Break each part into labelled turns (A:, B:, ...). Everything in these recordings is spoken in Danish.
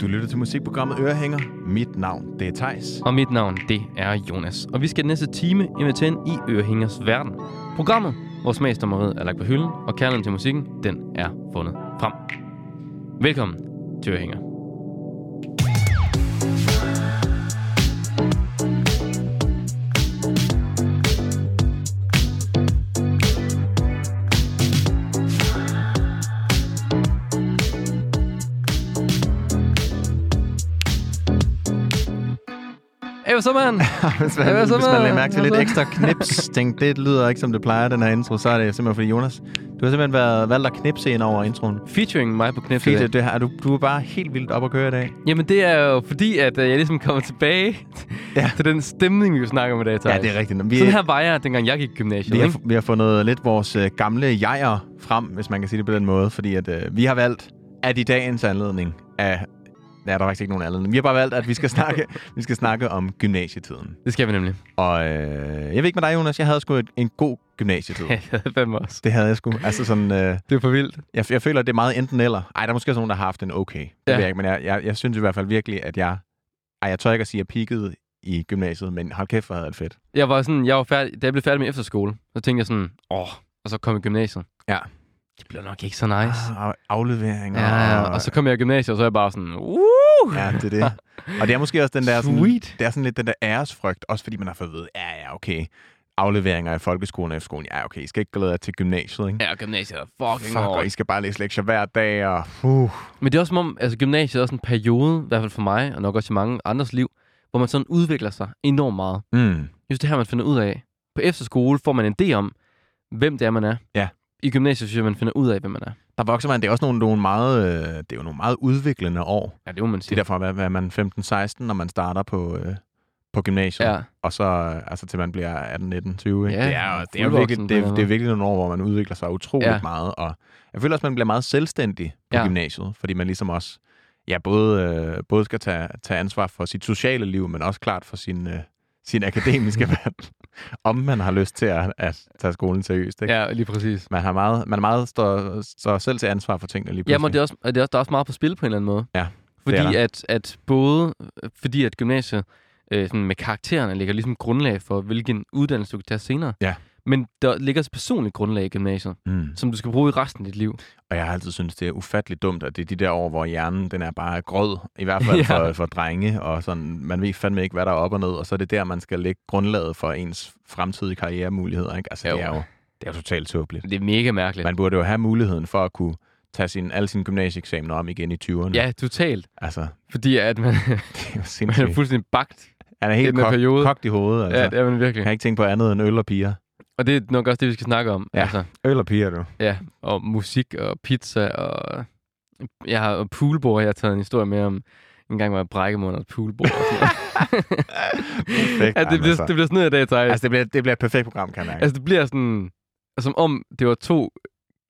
A: Du lytter til musikprogrammet Ørehænger. Mit navn, det er Tejs.
B: Og mit navn, det er Jonas. Og vi skal den næste time invitere ind i Ørehængers verden. Programmet, hvor smagsdommeriet er lagt på hylden, og kærligheden til musikken, den er fundet frem. Velkommen til Ørehænger. Hey, hvad så, mand?
A: Hvis man,
B: Hvad så
A: hvis man
B: med-
A: lægger mærke til
B: hvad
A: lidt
B: så?
A: ekstra knips, tænk, det lyder ikke som det plejer, den her intro, så er det simpelthen fordi Jonas, du har simpelthen været, valgt at knipse ind over introen.
B: Featuring mig på knæftet.
A: Fordi det, det her, du, du er bare helt vildt op at køre i dag.
B: Jamen, det er jo fordi, at øh, jeg ligesom kommer tilbage
A: Ja.
B: ja. til den stemning, vi jo snakker om i dag, Thijs.
A: Ja, det er rigtigt. Vi,
B: Sådan her var jeg, dengang jeg gik i gymnasiet.
A: vi,
B: ikke?
A: har, vi har fundet lidt vores øh, gamle jeger frem, hvis man kan sige det på den måde, fordi at, øh, vi har valgt, at i dagens anledning af... Ja, der er faktisk ikke nogen anledning. Vi har bare valgt, at vi skal snakke, vi skal snakke om gymnasietiden.
B: Det skal vi nemlig.
A: Og øh, jeg ved ikke med dig, Jonas, jeg havde sgu et, en god gymnasietid.
B: Ja, jeg havde fandme også.
A: det havde jeg sgu. Altså sådan, øh,
B: Det er for vildt.
A: jeg, jeg føler, at det er meget enten eller. Ej, der er måske også nogen, der har haft en okay. Det
B: Ja.
A: ved jeg ikke, men jeg, jeg, jeg synes i hvert fald virkelig, at jeg... Ej, jeg tør ikke at sige, at jeg peakede i gymnasiet, men hold kæft, hvor havde jeg det fedt.
B: Jeg var sådan, jeg var færdig, da jeg blev færdig med efterskole, så tænkte jeg sådan, åh, og så kom jeg i gymnasiet.
A: Ja.
B: Det blev nok ikke så nice.
A: Ah, afleveringer.
B: Ja, ja, og så kom jeg i gymnasiet, og så er jeg bare sådan, uh,
A: Ja, det er det. Og det er måske også den der... Sådan,
B: Sweet.
A: Det er sådan lidt den der æresfrygt, også fordi man har fået at vide, ja, ja, okay, afleveringer i folkeskolen og efterskolen, ja, okay, I skal ikke glæde jer til gymnasiet, ikke?
B: Ja, og gymnasiet er fucking
A: Fuck, og I
B: hårdt.
A: skal bare læse lektier hver dag, og uh,
B: Men det er også som om, altså gymnasiet er også en periode, i hvert fald for mig, og nok også i mange andres liv, hvor man sådan udvikler sig enormt meget.
A: mm,
B: Jeg synes, det er her, man finder ud af. På efterskole får man en idé om, hvem det er, man er.
A: Ja.
B: I gymnasiet synes jeg, man finder ud af, hvem man er.
A: der vokser man. Det er også nogle, nogle meget, øh, det er jo nogle meget udviklende år.
B: Ja, det må man
A: Det er
B: sige.
A: derfor, hvad, hvad er man 15-16, når man starter på, øh, på gymnasiet,
B: ja.
A: og så øh, altså, til man bliver 18, 19, 20. Ikke?
B: Ja,
A: det er, jo- det er, jo
B: fuldvoksen
A: virkelig,
B: på en
A: det,
B: eller
A: er,
B: anden
A: det er virkelig nogle år, hvor man udvikler sig utroligt ja.
B: Ja.
A: meget, og jeg føler også, man bliver meget selvstændig på ja.
B: Ja.
A: gymnasiet, fordi man ligesom også ja, både, øh, både skal tage, tage ansvar for sit sociale liv, men også klart for sin, øh, sin akademiske verden, om man har lyst til at, at tage skolen seriøst. Ikke?
B: ja, lige præcis.
A: Man, har meget, man er meget står, står selv til ansvar for tingene lige
B: Ja,
A: pludselig.
B: men det er også, og det er også, der er også meget på spil på en eller anden måde.
A: Ja,
B: Fordi
A: er der.
B: at, at både, fordi at gymnasiet øh, sådan med karaktererne ligger ligesom grundlag for, hvilken uddannelse du kan tage senere.
A: Ja.
B: Men der ligger også et personligt grundlag i gymnasiet,
A: Mm.
B: som du skal bruge i resten af dit liv.
A: Og jeg har altid syntes, det er ufatteligt dumt, at det er de der år, hvor hjernen den er bare grød, i hvert fald ja.
B: Ja.
A: for, for drenge, og sådan, man ved fandme ikke, hvad der er op og ned, og så er det der, man skal lægge grundlaget for ens fremtidige karrieremuligheder. Ikke? Altså, det
B: Jo.
A: er jo, det er jo totalt tåbeligt.
B: Det er mega mærkeligt.
A: Man burde jo have muligheden for at kunne tage sin, alle sine gymnasieeksamener om igen i 20'erne.
B: Ja, totalt.
A: Altså,
B: Fordi at man,
A: det er jo
B: man er
A: sindssygt.
B: fuldstændig bagt.
A: Han er
B: i
A: helt
B: den her
A: kok,
B: periode.
A: kogt i hovedet. Altså.
B: Ja,
A: Ja,
B: det er man
A: Jeg
B: virkelig.
A: kan ikke tænke på andet end øl og piger.
B: Og det er nok også det, vi skal snakke om.
A: Ja.
B: Altså,
A: Øl og piger, du.
B: ja. Og musik og pizza og... Jeg har og poolbord, jeg har taget en historie med om en gang, hvor jeg brækkede mig under et poolbord. og sådan noget.
A: Perfekt.
B: ja,
A: Jamen,
B: det, bliver,
A: altså.
B: det bliver sådan noget i dag, Thijs.
A: Altså, det bliver, det bliver et perfekt program, kan jeg mærke.
B: Altså, det bliver sådan, altså, som om det var to...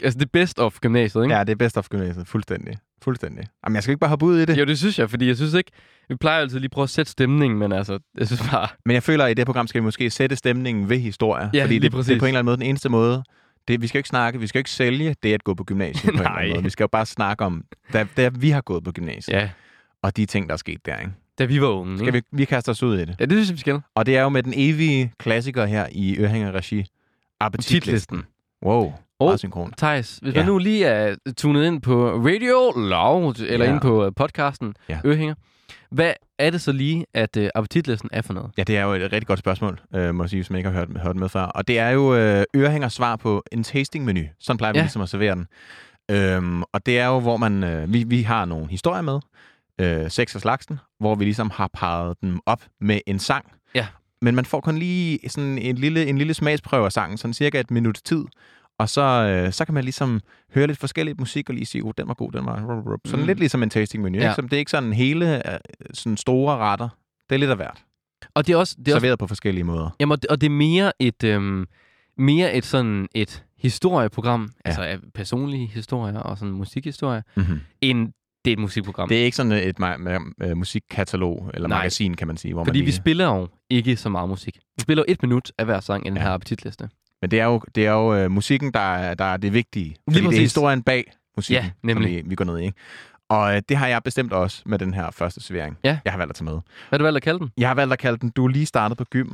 B: Altså, det best of gymnasiet, ikke?
A: Ja, det er best of gymnasiet. Fuldstændig. Fuldstændig. Jamen, jeg skal ikke bare hoppe ud i det.
B: Jo, det synes jeg, fordi jeg synes ikke... Vi plejer altid lige at prøve at sætte stemningen, men altså, jeg synes bare...
A: Men jeg føler, at i det her program skal vi måske sætte stemningen ved historier.
B: Ja,
A: fordi
B: lige
A: det,
B: præcis.
A: det er på en eller anden måde den eneste måde. Det, vi skal jo ikke snakke, vi skal jo ikke sælge det at gå på gymnasiet på en eller anden
B: Nej.
A: måde. Vi skal jo bare snakke om, da, da vi har gået på gymnasiet,
B: Ja, Mm.
A: og de ting, der er sket der. Ikke?
B: da vi var unge,
A: Skal vi, vi kaster os ud i det.
B: Ja, det synes jeg, vi skal.
A: Og det er jo med den evige klassiker her i Ørhænger Regi. Appetitlisten.
B: Titlisten.
A: Wow,
B: Oh.
A: meget synkron.
B: Thijs, hvis
A: Ja.
B: man nu lige er tunet ind på Radio Loud, eller
A: Ja.
B: ja. ind på øh, podcasten
A: Ja.
B: ja. Øhænger, hvad er det så lige, at øh, appetitlisten er for noget?
A: Ja, det er jo et rigtig godt spørgsmål, øh, må jeg sige, hvis man ikke har hørt, hørt med før. Og det er jo øh, ørehængers svar på en tastingmenu. Sådan plejer vi ja.
B: Ja.
A: ligesom at servere den. Øhm, og det er jo, hvor man, øh, vi, vi har nogle historier med, øh, seks af slagsen, hvor vi ligesom har parret dem op med en sang.
B: Ja.
A: Men man får kun lige sådan en lille, en lille smagsprøve af sangen, sådan cirka et minut tid. Og så, øh, så kan man ligesom høre lidt forskellig musik og lige sige, oh, den var god, den var... rup, rup." Sådan mm.
B: Mm.
A: lidt ligesom en tastingmenu.
B: Ja.
A: Ja. Det er ikke sådan hele øh, sådan store retter. Det er lidt af hvert
B: Og det er også, det er også
A: serveret på forskellige måder.
B: Jamen, og det- og det er mere et, øhm, mere et sådan et historieprogram, ja. altså af personlige historier og sådan musikhistorier,
A: Mm-hmm.
B: end det er et musikprogram. Det,
A: Det er ikke sådan et ma- ma- øh, musikkatalog eller Nej.
B: Nej.
A: magasin, kan man sige. Hvor
B: Fordi
A: man
B: vi
A: lige...
B: spiller jo ikke så meget musik. Vi spiller jo et minut af hver sang i den
A: Ja.
B: ja. her appetitliste.
A: Men det er jo, det er jo øh, musikken, der er, der er det vigtige. Fordi det er
B: præcis.
A: historien bag musikken,
B: Ja, nemlig.
A: som vi, vi går ned i. Ikke? Og øh, det har jeg bestemt også med den her første servering,
B: Ja.
A: jeg har valgt at tage med.
B: Hvad har du valgt at kalde den?
A: Jeg har valgt at kalde den, du er lige startet på gym,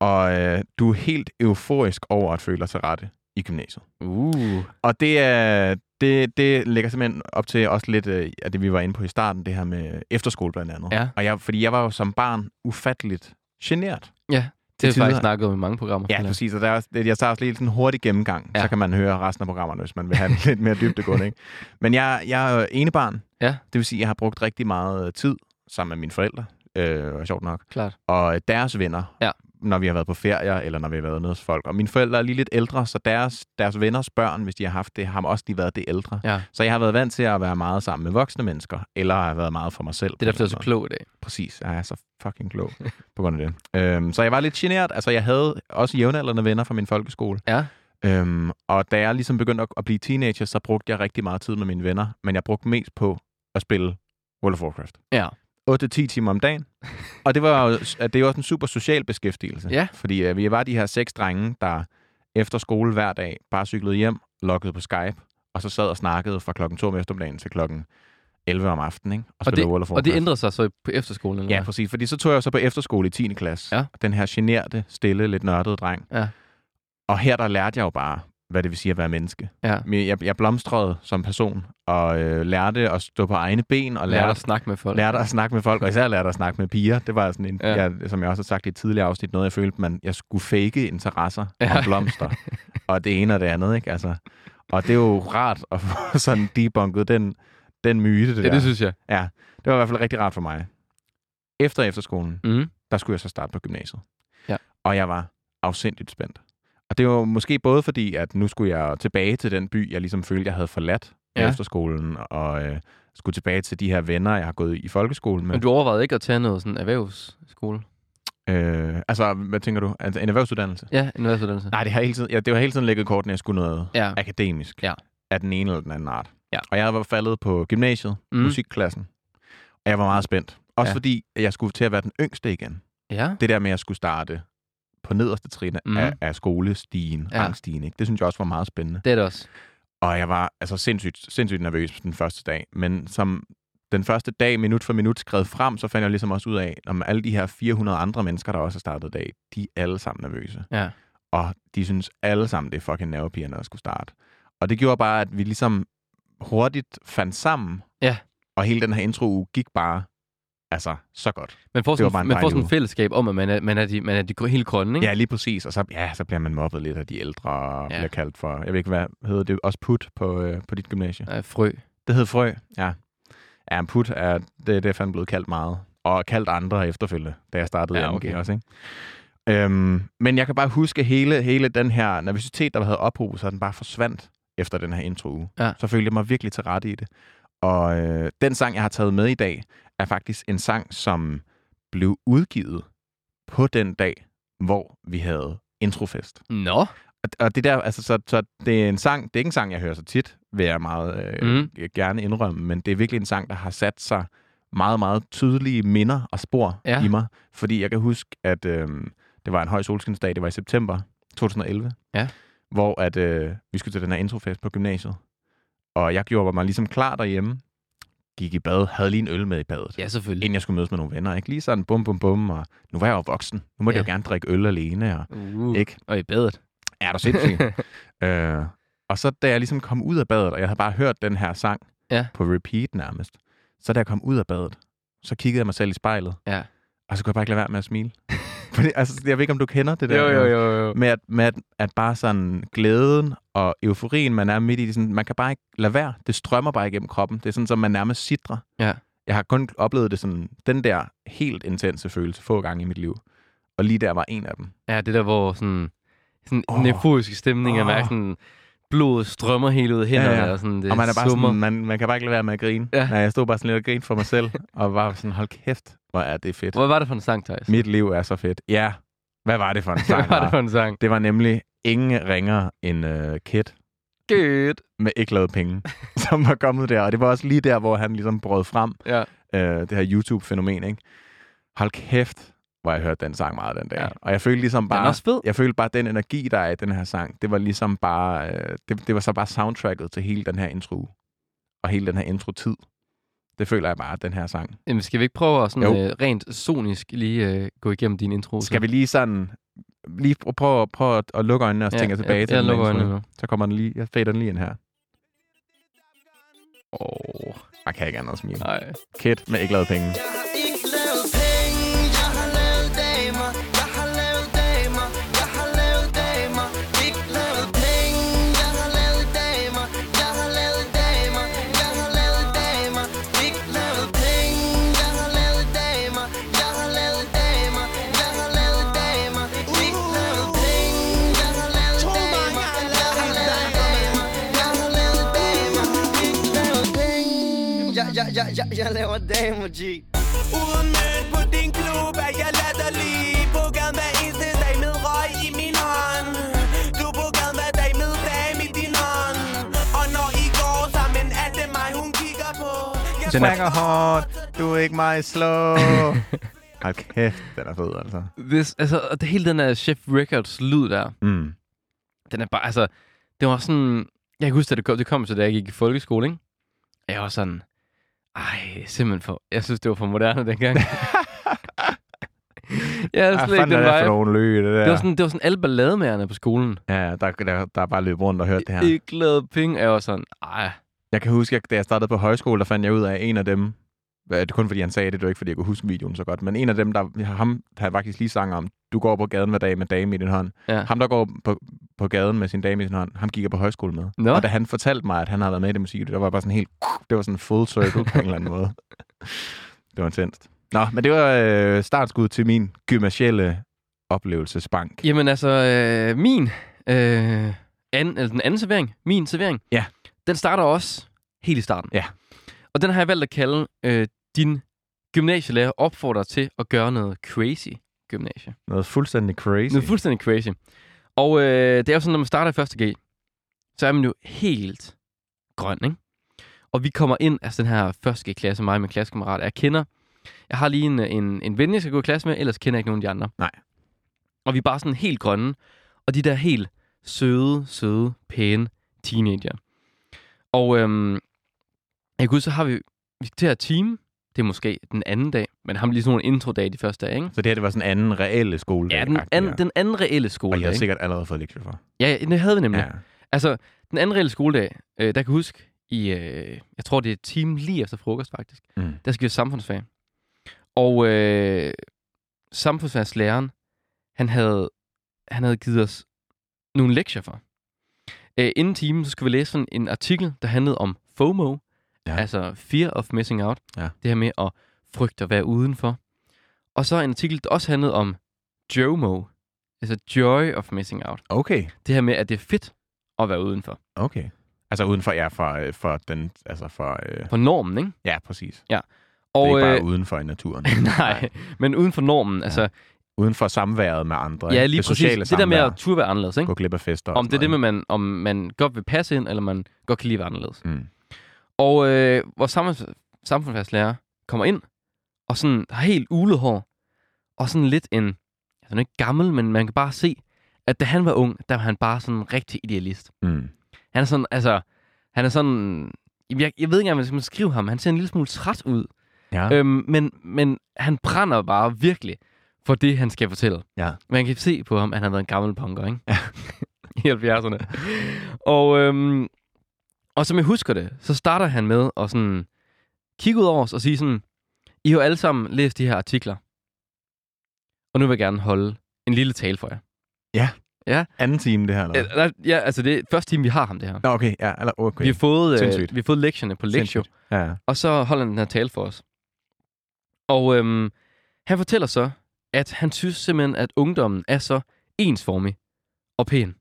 A: og øh, du er helt euforisk over at føle dig til rette i gymnasiet.
B: Uh.
A: Og det, er, det, det lægger simpelthen op til også lidt øh, af det, vi var inde på i starten, det her med efterskole blandt andet.
B: Ja.
A: Og jeg, fordi jeg var jo som barn ufatteligt generet.
B: Ja, Det har vi
A: tider.
B: faktisk snakket om i mange programmer.
A: Ja, præcis. Og der er også, det- jeg tager også lige sådan en hurtig gennemgang,
B: Ja.
A: ja. så kan man høre resten af programmerne, hvis man vil have lidt mere dybdegående. Ikke? Men jeg, jeg er jo enebarn.
B: Ja.
A: Det vil sige, at jeg har brugt rigtig meget øh, tid sammen med mine forældre. Øh, sjovt nok.
B: Klart.
A: Og deres venner,
B: Ja.
A: når vi har været på ferier, eller når vi har været nede hos folk. Og mine forældre er lige lidt ældre, så deres, deres venners børn, hvis de har haft det, har også lige været det ældre.
B: Ja.
A: Så jeg har været vant til at være meget sammen med voksne mennesker, eller har været meget for mig selv.
B: Det er derfor,
A: på
B: du
A: en
B: er så
A: måde.
B: klog i dag.
A: Præcis. Jeg er så fucking klog på grund af det. Øhm, så jeg var lidt generet. Altså, jeg havde også jævnaldrende venner fra min folkeskole.
B: Ja.
A: Øhm, og da jeg ligesom begyndte at, at blive teenager, så brugte jeg rigtig meget tid med mine venner. Men jeg brugte mest på at spille World of Warcraft.
B: Ja.
A: 8-10 timer om dagen. Og det var jo, at det er jo også en super social beskæftigelse.
B: Ja.
A: Fordi øh, vi var de her seks drenge, der efter skole hver dag bare cyklede hjem, loggede på Skype, og så sad og snakkede fra klokken 2 om eftermiddagen til klokken 11 om aftenen, ikke? Og, spillede World of
B: Og
A: Warcraft.
B: det ændrede sig så på efterskolen? Eller
A: Ja,
B: hvad?
A: præcis. Fordi så tog jeg jo så på efterskole i 10. klasse.
B: Ja.
A: Den her generte, stille, lidt nørdede dreng.
B: Ja.
A: Og her der lærte jeg jo bare, hvad det vil sige at være menneske.
B: Ja.
A: Men Jeg, jeg blomstrede som person, og øh, lærte at stå på egne ben, og
B: Lærte
A: lærte,
B: at snakke med folk.
A: lærte at snakke med folk, og især lærte at snakke med piger. Det var sådan en,
B: Ja.
A: ja. jeg, som jeg også har sagt i et tidligere afsnit, noget jeg følte, man, jeg skulle fake interesser
B: Ja.
A: ja. og blomster, og det ene og det andet, ikke? Altså, og det er jo rart at få sådan debunket den, den myte, det
B: Ja,
A: der.
B: det synes jeg.
A: Det var i hvert fald rigtig rart for mig. Efter efterskolen,
B: Mm.
A: der skulle jeg så starte på gymnasiet.
B: Ja.
A: Og jeg var afsindigt spændt. Og det var måske både fordi, at nu skulle jeg tilbage til den by, jeg ligesom følte, jeg havde forladt
B: Ja.
A: ja. efter skolen, og øh, skulle tilbage til de her venner, jeg har gået i folkeskolen med.
B: Men du overvejede ikke at tage noget sådan erhvervsskole?
A: Øh, altså, hvad tænker du? Altså, en erhvervsuddannelse?
B: Ja, en erhvervsuddannelse.
A: Nej, det har hele tiden, ja, det var hele tiden ligget i kortene, at jeg skulle noget
B: Ja.
A: akademisk
B: Ja.
A: af den ene eller den anden art.
B: Ja.
A: Og jeg var faldet på gymnasiet,
B: Mm.
A: mm. musikklassen, og jeg var meget spændt. Også
B: Ja.
A: ja. fordi, at jeg skulle til at være den yngste igen.
B: Ja.
A: det der med, at jeg skulle starte på nederste trin
B: Mhm.
A: mm. af, af skolestigen,
B: Ja.
A: ja. angststigen, ikke? det synes jeg også var meget spændende.
B: Det er det også.
A: Og jeg var altså sindssygt, sindssygt nervøs den første dag, men som den første dag, minut for minut, skred frem, så fandt jeg ligesom også ud af, at alle de her 400 andre mennesker, der også har startet i dag, de er alle sammen nervøse.
B: Ja.
A: Og de synes alle sammen, det er fucking nervepigerne, der skulle starte. Og det gjorde bare, at vi ligesom hurtigt fandt sammen.
B: Ja.
A: Og hele den her intro gik bare, altså, så godt.
B: Man får
A: Det var
B: sådan,
A: bare en
B: man får
A: dejlig
B: sådan et
A: uge.
B: fællesskab om, at man er, man er, de, man er de gr- helt grønne, ikke?
A: Ja, lige præcis. Og så, ja, så bliver man mobbet lidt af de ældre, og
B: Ja.
A: ja. bliver kaldt for... Jeg ved ikke, hvad hedder det? Også put på, øh, på dit gymnasie?
B: Af frø.
A: Det hed frø, ja. Ja, men put er... Det, det er fandme blevet kaldt meget. Og kaldt andre efterfølgende, da jeg startede
B: Ja,
A: ja, okay.
B: okay.
A: også, ikke? Øhm, men jeg kan bare huske hele, hele den her nervøsitet, der havde ophobet sig, den bare forsvandt efter den her intro
B: Ja.
A: Så følte jeg mig virkelig til rette i det. Og øh, den sang, jeg har taget med i dag, er faktisk en sang, som blev udgivet på den dag, hvor vi havde introfest.
B: Nå.
A: Og, og det der, altså, så, så det er en sang, det er ikke en sang, jeg hører så tit, vil jeg meget øh,
B: Mm.
A: mm. gerne indrømme, men det er virkelig en sang, der har sat sig meget, meget tydelige minder og spor
B: Ja.
A: ja. i mig. Fordi jeg kan huske, at øh, det var en høj solskinsdag, det var i september 2011,
B: Ja.
A: hvor at, øh, vi skulle til den her introfest på gymnasiet. Og jeg gjorde mig ligesom klar derhjemme, gik i bad, havde lige en øl med i badet
B: Ja, selvfølgelig.
A: inden jeg skulle mødes med nogle venner. Ikke? Lige sådan bum, bum, bum, og nu var jeg jo voksen. Nu måtte
B: Ja.
A: ja. jeg jo gerne drikke øl alene, og
B: Uh.
A: ikke?
B: Og i badet.
A: Er du sindssyg? øh, og så da jeg ligesom kom ud af badet, og jeg havde bare hørt den her sang
B: Ja.
A: på repeat nærmest, så da jeg kom ud af badet, så kiggede jeg mig selv i spejlet,
B: Ja.
A: og så kunne jeg bare ikke lade være med at smile. Fordi, altså, jeg ved ikke, om du kender det der.
B: jo, jo.
A: Med, at, med at, at bare sådan glæden og euforien, man er midt i, det, sådan, man kan bare ikke lade være. Det strømmer bare igennem kroppen. Det er sådan, som man nærmest sidrer.
B: Ja.
A: Jeg har kun oplevet det sådan, den der helt intense følelse få gange i mit liv. Og lige der var en af dem.
B: Ja, det der, hvor sådan, sådan oh.
A: Åh.
B: neforiske stemninger, oh.
A: Åh.
B: mærke sådan, blodet strømmer helt ud af hænderne, ja,
A: Ja,
B: ja.
A: ja.
B: og sådan, det
A: og man er bare
B: summer.
A: sådan, man, man kan bare ikke lade være med at grine.
B: Ja.
A: Ja. Nej, jeg stod bare sådan lidt og grinede for mig selv, og var sådan, hold kæft, hvor er det fedt.
B: Hvad var det for en sang, Thijs?
A: Mit liv er så fedt. Ja, hvad var det for en
B: Hvad
A: sang?
B: var det
A: hva'?
B: for en sang?
A: det var nemlig Ingen ringer en uh, kid
B: Good.
A: med ikke lavet penge, som var kommet der. Og det var også lige der, hvor han ligesom brød frem
B: Ja.
A: øh, det her YouTube-fænomen, ikke? Hold kæft, hvor jeg hørte den sang meget den dag.
B: Ja.
A: Ja. Og jeg følte ligesom
B: Den
A: bare...
B: er også fed.
A: Jeg følte bare, at den energi, der er i den her sang, det var ligesom bare, øh, det, det var så bare soundtracket til hele den her intro. Og hele den her intro-tid. Det føler jeg bare, at den her sang.
B: Jamen, skal vi ikke prøve at sådan,
A: Jo.
B: øh, rent sonisk lige øh, gå igennem din intro?
A: Skal vi lige sådan... Lige pr- prøve, prøve at, at lukke øjnene og så tænker tilbage
B: jeg,
A: til
B: jeg,
A: den.
B: jeg lukker
A: længst
B: øjnene
A: ude.
B: nu.
A: Så kommer den lige... Jeg fader den lige ind her.
B: Åh, oh,
A: Jeg kan ikke andet smile.
B: nej.
A: Kid med ikke lavet penge.
C: Jeg har ikke lavet penge, jeg har lavet damer, jeg har lavet damer, jeg har lavet damer. Ikke lavet penge, jeg har lavet damer, jeg har lavet damer, jeg har lavet damer. Ikke lavet penge, jeg har lavet damer, jeg har lavet damer, jeg har lavet damer. Ikke lavet penge, jeg har lavet damer, jeg har lavet damer, jeg har lavet damer. Ikke lavet penge, jeg, jeg, jeg, jeg, jeg laver damer, G.
D: Uden mødt på din klub er jeg latterlig På gaden hver eneste dag med røg i min hånd Du er på gaden hver dag med dame i din hånd Og når I går sammen er det mig hun kigger på Jeg
B: Den er-
A: Snakker hårdt, du er ikke mig slow. Hold kæft, den er fed, altså.
B: This, altså, og det hele den der Chef Records lyd der,
A: Mm.
B: den er bare, altså, det var sådan, jeg kan huske, da det kom, det kom så da jeg gik i folkeskole, ikke? Jeg var sådan, ej, simpelthen for, jeg synes, det var for moderne dengang. jeg havde
A: Ah,
B: slet ikke
A: fanden
B: den
A: er det for
B: vibe.
A: nogle lyde, det der.
B: Det var sådan, det var sådan alle ballademagerne på skolen.
A: Ja, der, der, der er bare løb rundt og hørt det her.
B: Ikke lavet penge. Jeg var sådan, ej,
A: Jeg kan huske, at da jeg startede på højskole, der fandt jeg ud af, at en af dem, hvad- det er kun fordi han sagde det, det var ikke fordi jeg kunne huske videoen så godt, men en af dem, der, ham, han faktisk lige sang om, du går på gaden hver dag med dame i din hånd.
B: Ja.
A: Ham, der går på, på gaden med sin dame i sin hånd, ham gik jeg på højskole med.
B: Nå.
A: Og da han fortalte mig, at han havde været med i det musik, der var jeg bare sådan helt, det var sådan full circle på en eller anden måde. Det var intenst. Nå, men det var øh, startskud til min gymnasielle oplevelsesbank.
B: Jamen altså, øh, min, øh, anden, eller den anden servering, min servering,
A: Ja.
B: den starter også helt i starten.
A: Ja.
B: Og den har jeg valgt at kalde, øh, din gymnasielærer opfordrer til at gøre noget crazy gymnasie.
A: Noget fuldstændig crazy.
B: Noget fuldstændig crazy. Og øh, det er jo sådan, når man starter i første G, så er man jo helt grøn, ikke? Og vi kommer ind, altså den her første G-klasse, mig og min klassekammerat, jeg kender. Jeg har lige en, en, en ven, jeg skal gå i klasse med, ellers kender jeg ikke nogen af de andre.
A: Nej.
B: Og vi er bare sådan helt grønne, og de der helt søde, søde, pæne teenager. Og øhm, jeg kan huske, så har vi, vi skal til at team, det er måske den anden dag, men ham lige sådan nogle intro-dage de første dage, ikke?
A: Så det her, det var sådan anden reelle skole.
B: Ja, den, anden, den anden reelle
A: Og jeg
B: skoledag.
A: havde
B: ikke?
A: sikkert allerede fået lektier for.
B: Ja, ja, det havde vi nemlig. Ja. Altså, den anden reelle skoledag, øh, der kan jeg huske, i, øh, jeg tror, det er timen lige efter frokost faktisk,
A: Mm.
B: der skal vi have samfundsfag. Og øh, samfundsfagslæreren, han havde, han havde givet os nogle lektier for. Øh, inden timen, så skulle vi læse sådan en artikel, der handlede om FOMO,
A: Ja.
B: ja. altså Fear of Missing Out.
A: Ja.
B: Det her med at frygte at være udenfor. Og så en artikel, der også handlede om JOMO, altså Joy of Missing Out.
A: Okay,
B: Det her med, at det er fedt at være udenfor.
A: okay. Altså uden for, ja, for, øh, for den, altså for, øh,
B: På normen, ikke?
A: ja, præcis. Og,
B: Og,
A: det er ikke bare
B: øh,
A: uden for i naturen.
B: nej, men uden for normen. Ja. Altså,
A: Uden for samværet med andre.
B: ja,
A: ikke?
B: lige
A: det
B: det
A: sociale
B: præcis. Det der med
A: samvær.
B: at turde være anderledes, ikke?
A: gå glip af fester. og
B: Om det er
A: sådan
B: det med, man, om man godt vil passe ind, eller man godt kan lide at være anderledes.
A: noget, ikke?
B: Og øh, vores samfunds, samfundsfagslærer kommer ind, og sådan har helt ulet hår, og sådan lidt en, altså han er ikke gammel, men man kan bare se, at da han var ung, der var han bare sådan en rigtig idealist.
A: Mm. Mm.
B: Han er sådan, altså, han er sådan, Jamen, jeg, jeg ved ikke engang, hvad man skal skrive ham. Han ser en lille smule træt ud,
A: Ja. Øh,
B: Øhm, men, men han brænder bare virkelig for det, han skal fortælle.
A: Ja.
B: Man kan se på ham, at han har været en gammel punker, ikke? Ja. I 70'erne. Og, øhm, og som jeg husker det, så starter han med at sådan kigge ud over os og sige sådan, I har jo alle sammen læst de her artikler. Og nu vil jeg gerne holde en lille tale for jer.
A: anden time, det her. Eller?
B: Øh,
A: hvad?
B: nej, ja, altså det er første time, vi har ham det her.
A: Nå, okay. Ja, eller, okay.
B: Vi har fået, øh,
A: Sindssygt.
B: vi har fået lektierne på lektio.
A: Sindssygt. Ja.
B: Og så holder han den her tale for os. Og øhm, han fortæller så, at han synes simpelthen, at ungdommen er så ensformig og pæn.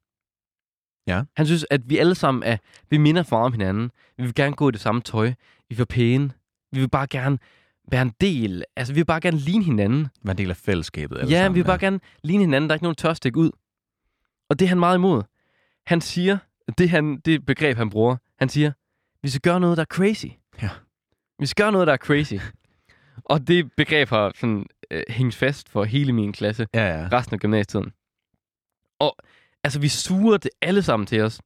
A: Ja.
B: Han synes, at vi alle sammen er, vi minder for meget om hinanden. Vi vil gerne gå i det samme tøj. Vi vil pæne. Vi vil bare gerne være en del. Altså, vi vil bare gerne ligne hinanden.
A: Var en del af fællesskabet.
B: ja,
A: sammen,
B: vi vil bare gerne ligne hinanden. Der er ikke nogen tør at stikke ud. Og det er han meget imod. Han siger, det, han, det begreb, han bruger, han siger, vi skal gøre noget, der er crazy.
A: Ja.
B: Vi skal gøre noget, der er crazy. og det begreb har sådan, øh, hængt fast for hele min klasse
A: Ja, ja.
B: resten af gymnasietiden. Og altså, vi suger det alle sammen til os.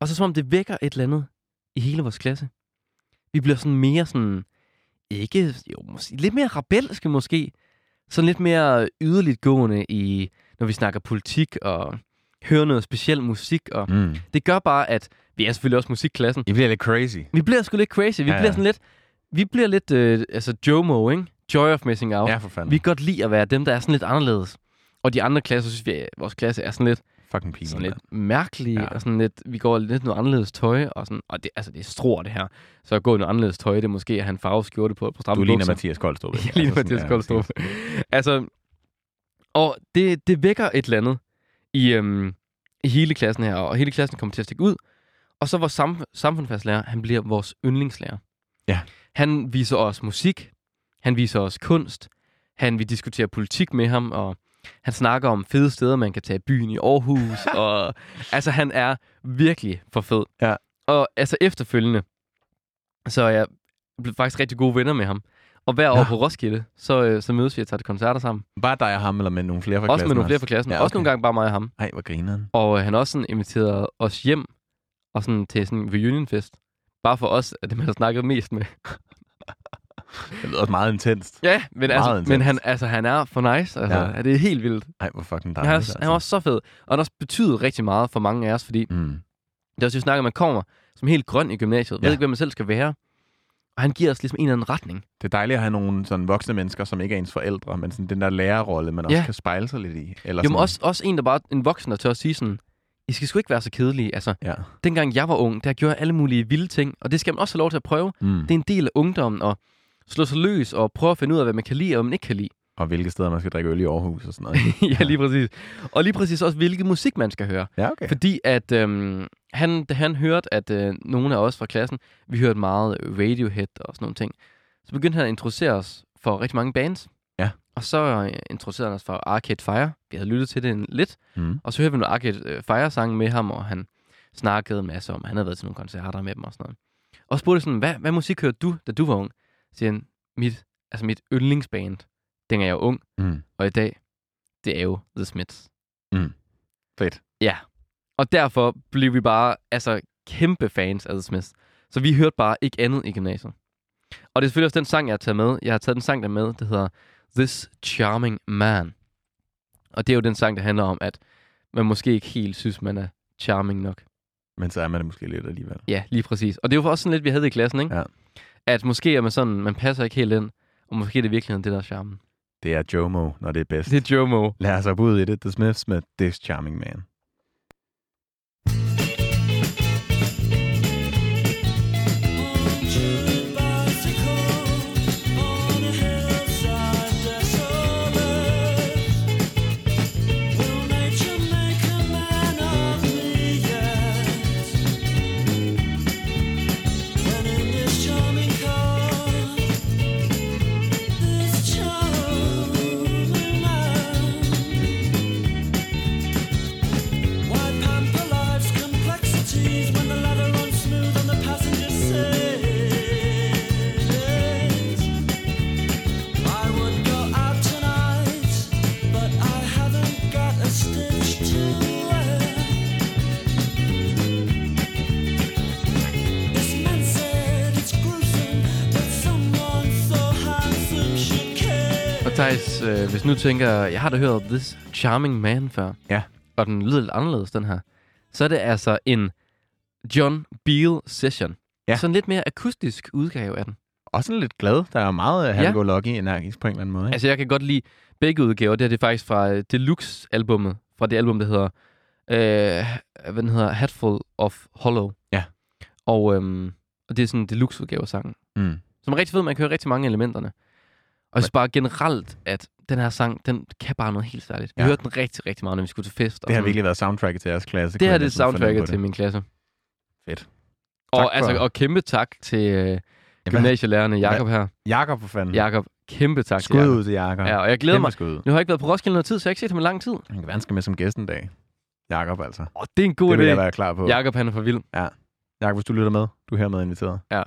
B: Og så som om det vækker et eller andet i hele vores klasse. Vi bliver sådan mere sådan, ikke, jo, måske, lidt mere rebelske måske. Sådan lidt mere yderligt gående i, når vi snakker politik og hører noget speciel musik. Og
A: Mm.
B: det gør bare, at vi er selvfølgelig også musikklassen.
A: I bliver lidt crazy.
B: Vi bliver sgu lidt crazy. Vi
A: Ja,
B: ja,
A: ja.
B: bliver sådan lidt, vi bliver lidt, øh, altså JOMO, ikke? Joy of Missing Out.
A: Ja, for fanden.
B: Vi kan godt lide at være dem, der er sådan lidt anderledes. Og de andre klasser, synes vi, at vores klasse er sådan lidt,
A: Fucking pige.
B: sådan lidt mærkelige,
A: Ja.
B: ja. og sådan lidt, vi går lidt noget anderledes tøj, og sådan, og det, altså det er stror det her. Så at gå i noget anderledes tøj, det er måske at have en farve skjorte på, på stramme
A: Du ligner
B: bukser.
A: Mathias Koldstrup. ikke?
B: Jeg ligner
A: Altså, sådan,
B: Mathias
A: ja,
B: Koldstrup. altså, og det, det vækker et eller andet i, øhm, i hele klassen her, og hele klassen kommer til at stikke ud. Og så vores sam, samfundsfagslærer, han bliver vores yndlingslærer.
A: Ja.
B: Han viser os musik, han viser os kunst, han vi diskuterer politik med ham, og han snakker om fede steder, man kan tage i byen i Aarhus, og altså han er virkelig for fed.
A: Ja.
B: Og altså efterfølgende, så er jeg blevet faktisk rigtig gode venner med ham. Og hver år
A: Nå.
B: på Roskilde, så, øh, så mødes vi og tager til koncerter sammen.
A: Bare dig og ham, eller med nogle flere fra
B: Også
A: klassen
B: med nogle flere fra klassen.
A: Ja,
B: Ja, okay. Også
A: okay.
B: nogle gange bare mig og ham.
A: Ej, hvor grineren.
B: Og øh, han har også sådan inviteret os hjem og sådan til sådan en reunionfest. Bare for os, at det man har snakket mest med.
A: Det lyder også meget intenst.
B: Ja, men,
A: Meget
B: altså,
A: intenst.
B: men han, altså, han er for nice. Altså,
A: Ja.
B: ja. Det er helt vildt.
A: Ej, hvor fucking
B: Han er,
A: dejligt. altså.
B: også, han er også så fed. Og han har også betydet rigtig meget for mange af os, fordi
A: Mm.
B: det er også det, vi snakker, om, man kommer som helt grøn i gymnasiet. Ja.
A: Ja.
B: Ved ikke, hvad man selv skal være. Og han giver os ligesom en eller anden retning.
A: Det er dejligt at have nogle sådan voksne mennesker, som ikke er ens forældre, men sådan den der lærerrolle, man også
B: Ja.
A: kan spejle sig lidt i. Eller
B: Jo, men
A: sådan-
B: også, også en, der bare en voksen, der tør at sige sådan, I skal sgu ikke være så kedelige. Altså,
A: Ja.
B: dengang jeg var ung, der gjorde jeg alle mulige vilde ting, og det skal man også have lov til at prøve.
A: Mm.
B: Det er en del af ungdommen at slå sig løs og prøve at finde ud af, hvad man kan lide og hvad man ikke kan lide.
A: Og hvilke steder man skal drikke øl i Aarhus og sådan noget.
B: ja, lige præcis. Og lige præcis også, hvilken musik man skal høre.
A: ja, okay.
B: Fordi at øhm, han, da han hørte, at øh, nogle af os fra klassen, vi hørte meget Radiohead og sådan nogle ting, så begyndte han at introducere os for rigtig mange bands.
A: Ja.
B: Og så øh, introducerede han os for Arcade Fire. Vi havde lyttet til det en, lidt,
A: Mm.
B: og så hørte vi nogle Arcade øh, Fire-sange med ham, og han snakkede en masse om, han havde været til nogle koncerter med dem og sådan noget. Og spurgte sådan, hvad, hvad musik hørte du, da du var ung? Så siger han, mit, altså mit yndlingsband, dengang jeg var ung,
A: Mm.
B: og i dag, det er jo The Smiths.
A: Fedt.
B: Ja. Og derfor blev vi bare altså kæmpe fans af The Smiths. Så vi hørte bare ikke andet i gymnasiet. Og det er selvfølgelig også den sang, jeg har taget med. Jeg har taget den sang der med, det hedder This Charming Man. Og det er jo den sang, der handler om, at man måske ikke helt synes, man er charming nok.
A: Men så er man det måske lidt alligevel.
B: Ja, lige præcis. Og det var også sådan lidt, vi havde i klassen, ikke?
A: Ja.
B: At måske er man sådan, man passer ikke helt ind, og måske er det i virkeligheden det, der er charmen.
A: Det er Jomo, når det er bedst.
B: Det er Jomo.
A: Lad os hoppe ud i det. The Smiths med This Charming Man.
E: When the leather runs smooth on the passenger seat, I would go out tonight, but I haven't got a stitch to wear. This man said it's gruesome that someone so handsome should care.
B: Og Thijs, øh, hvis nu tænker, jeg har da hørt This Charming Man før.
A: Ja.
B: Og den lyder lidt anderledes, den her. Så er det altså en John Beale session.
A: Ja.
B: Sådan lidt mere akustisk udgave af den.
A: Også sådan lidt glad. Der er meget
B: Ja.
A: halv go lucky energisk på en eller anden måde. Ikke?
B: Altså, jeg kan godt lide begge udgaver. Det her det er faktisk fra øh, Deluxe-albummet. Fra det album, der hedder... Øh, hvad den hedder? Hatful of Hollow.
A: Ja.
B: Og, øhm, og det er sådan en Deluxe-udgave af sangen.
A: Mm.
B: Som er rigtig fed, man kan høre rigtig mange af elementerne. Og jeg synes bare generelt, at den her sang, den kan bare noget helt særligt. Vi
A: Ja.
B: hørte den rigtig, rigtig meget, når vi skulle til fest. og
A: Det har
B: sådan.
A: virkelig været soundtracket til jeres klasse.
B: altså- det
A: kunne
B: her
A: jeg
B: det er
A: næsten fornemme
B: soundtracket
A: på
B: til min klasse.
A: Fedt. Tak for-
B: Og, altså, og kærlig tak til øh,
A: Jamen,
B: gymnasielærerne Jakob her.
A: Jakob for fanden.
B: Jakob, kæmpe tak
A: Mm.
B: til
A: Skud
B: Jakob.
A: ud til Jakob.
B: Ja, og jeg glæder
A: Kæmpe
B: mig.
A: Skud ud.
B: Nu har jeg ikke været på Roskilde noget tid, så jeg har ikke set ham i lang tid.
A: Han kan være, han skal med som gæst en dag. Jakob altså.
B: Åh, det er en god
A: det vil jeg
B: idé.
A: være klar på.
B: Jakob, han er for vild.
A: Jakob, hvis du lytter med, du er hermed inviteret.
B: Ja.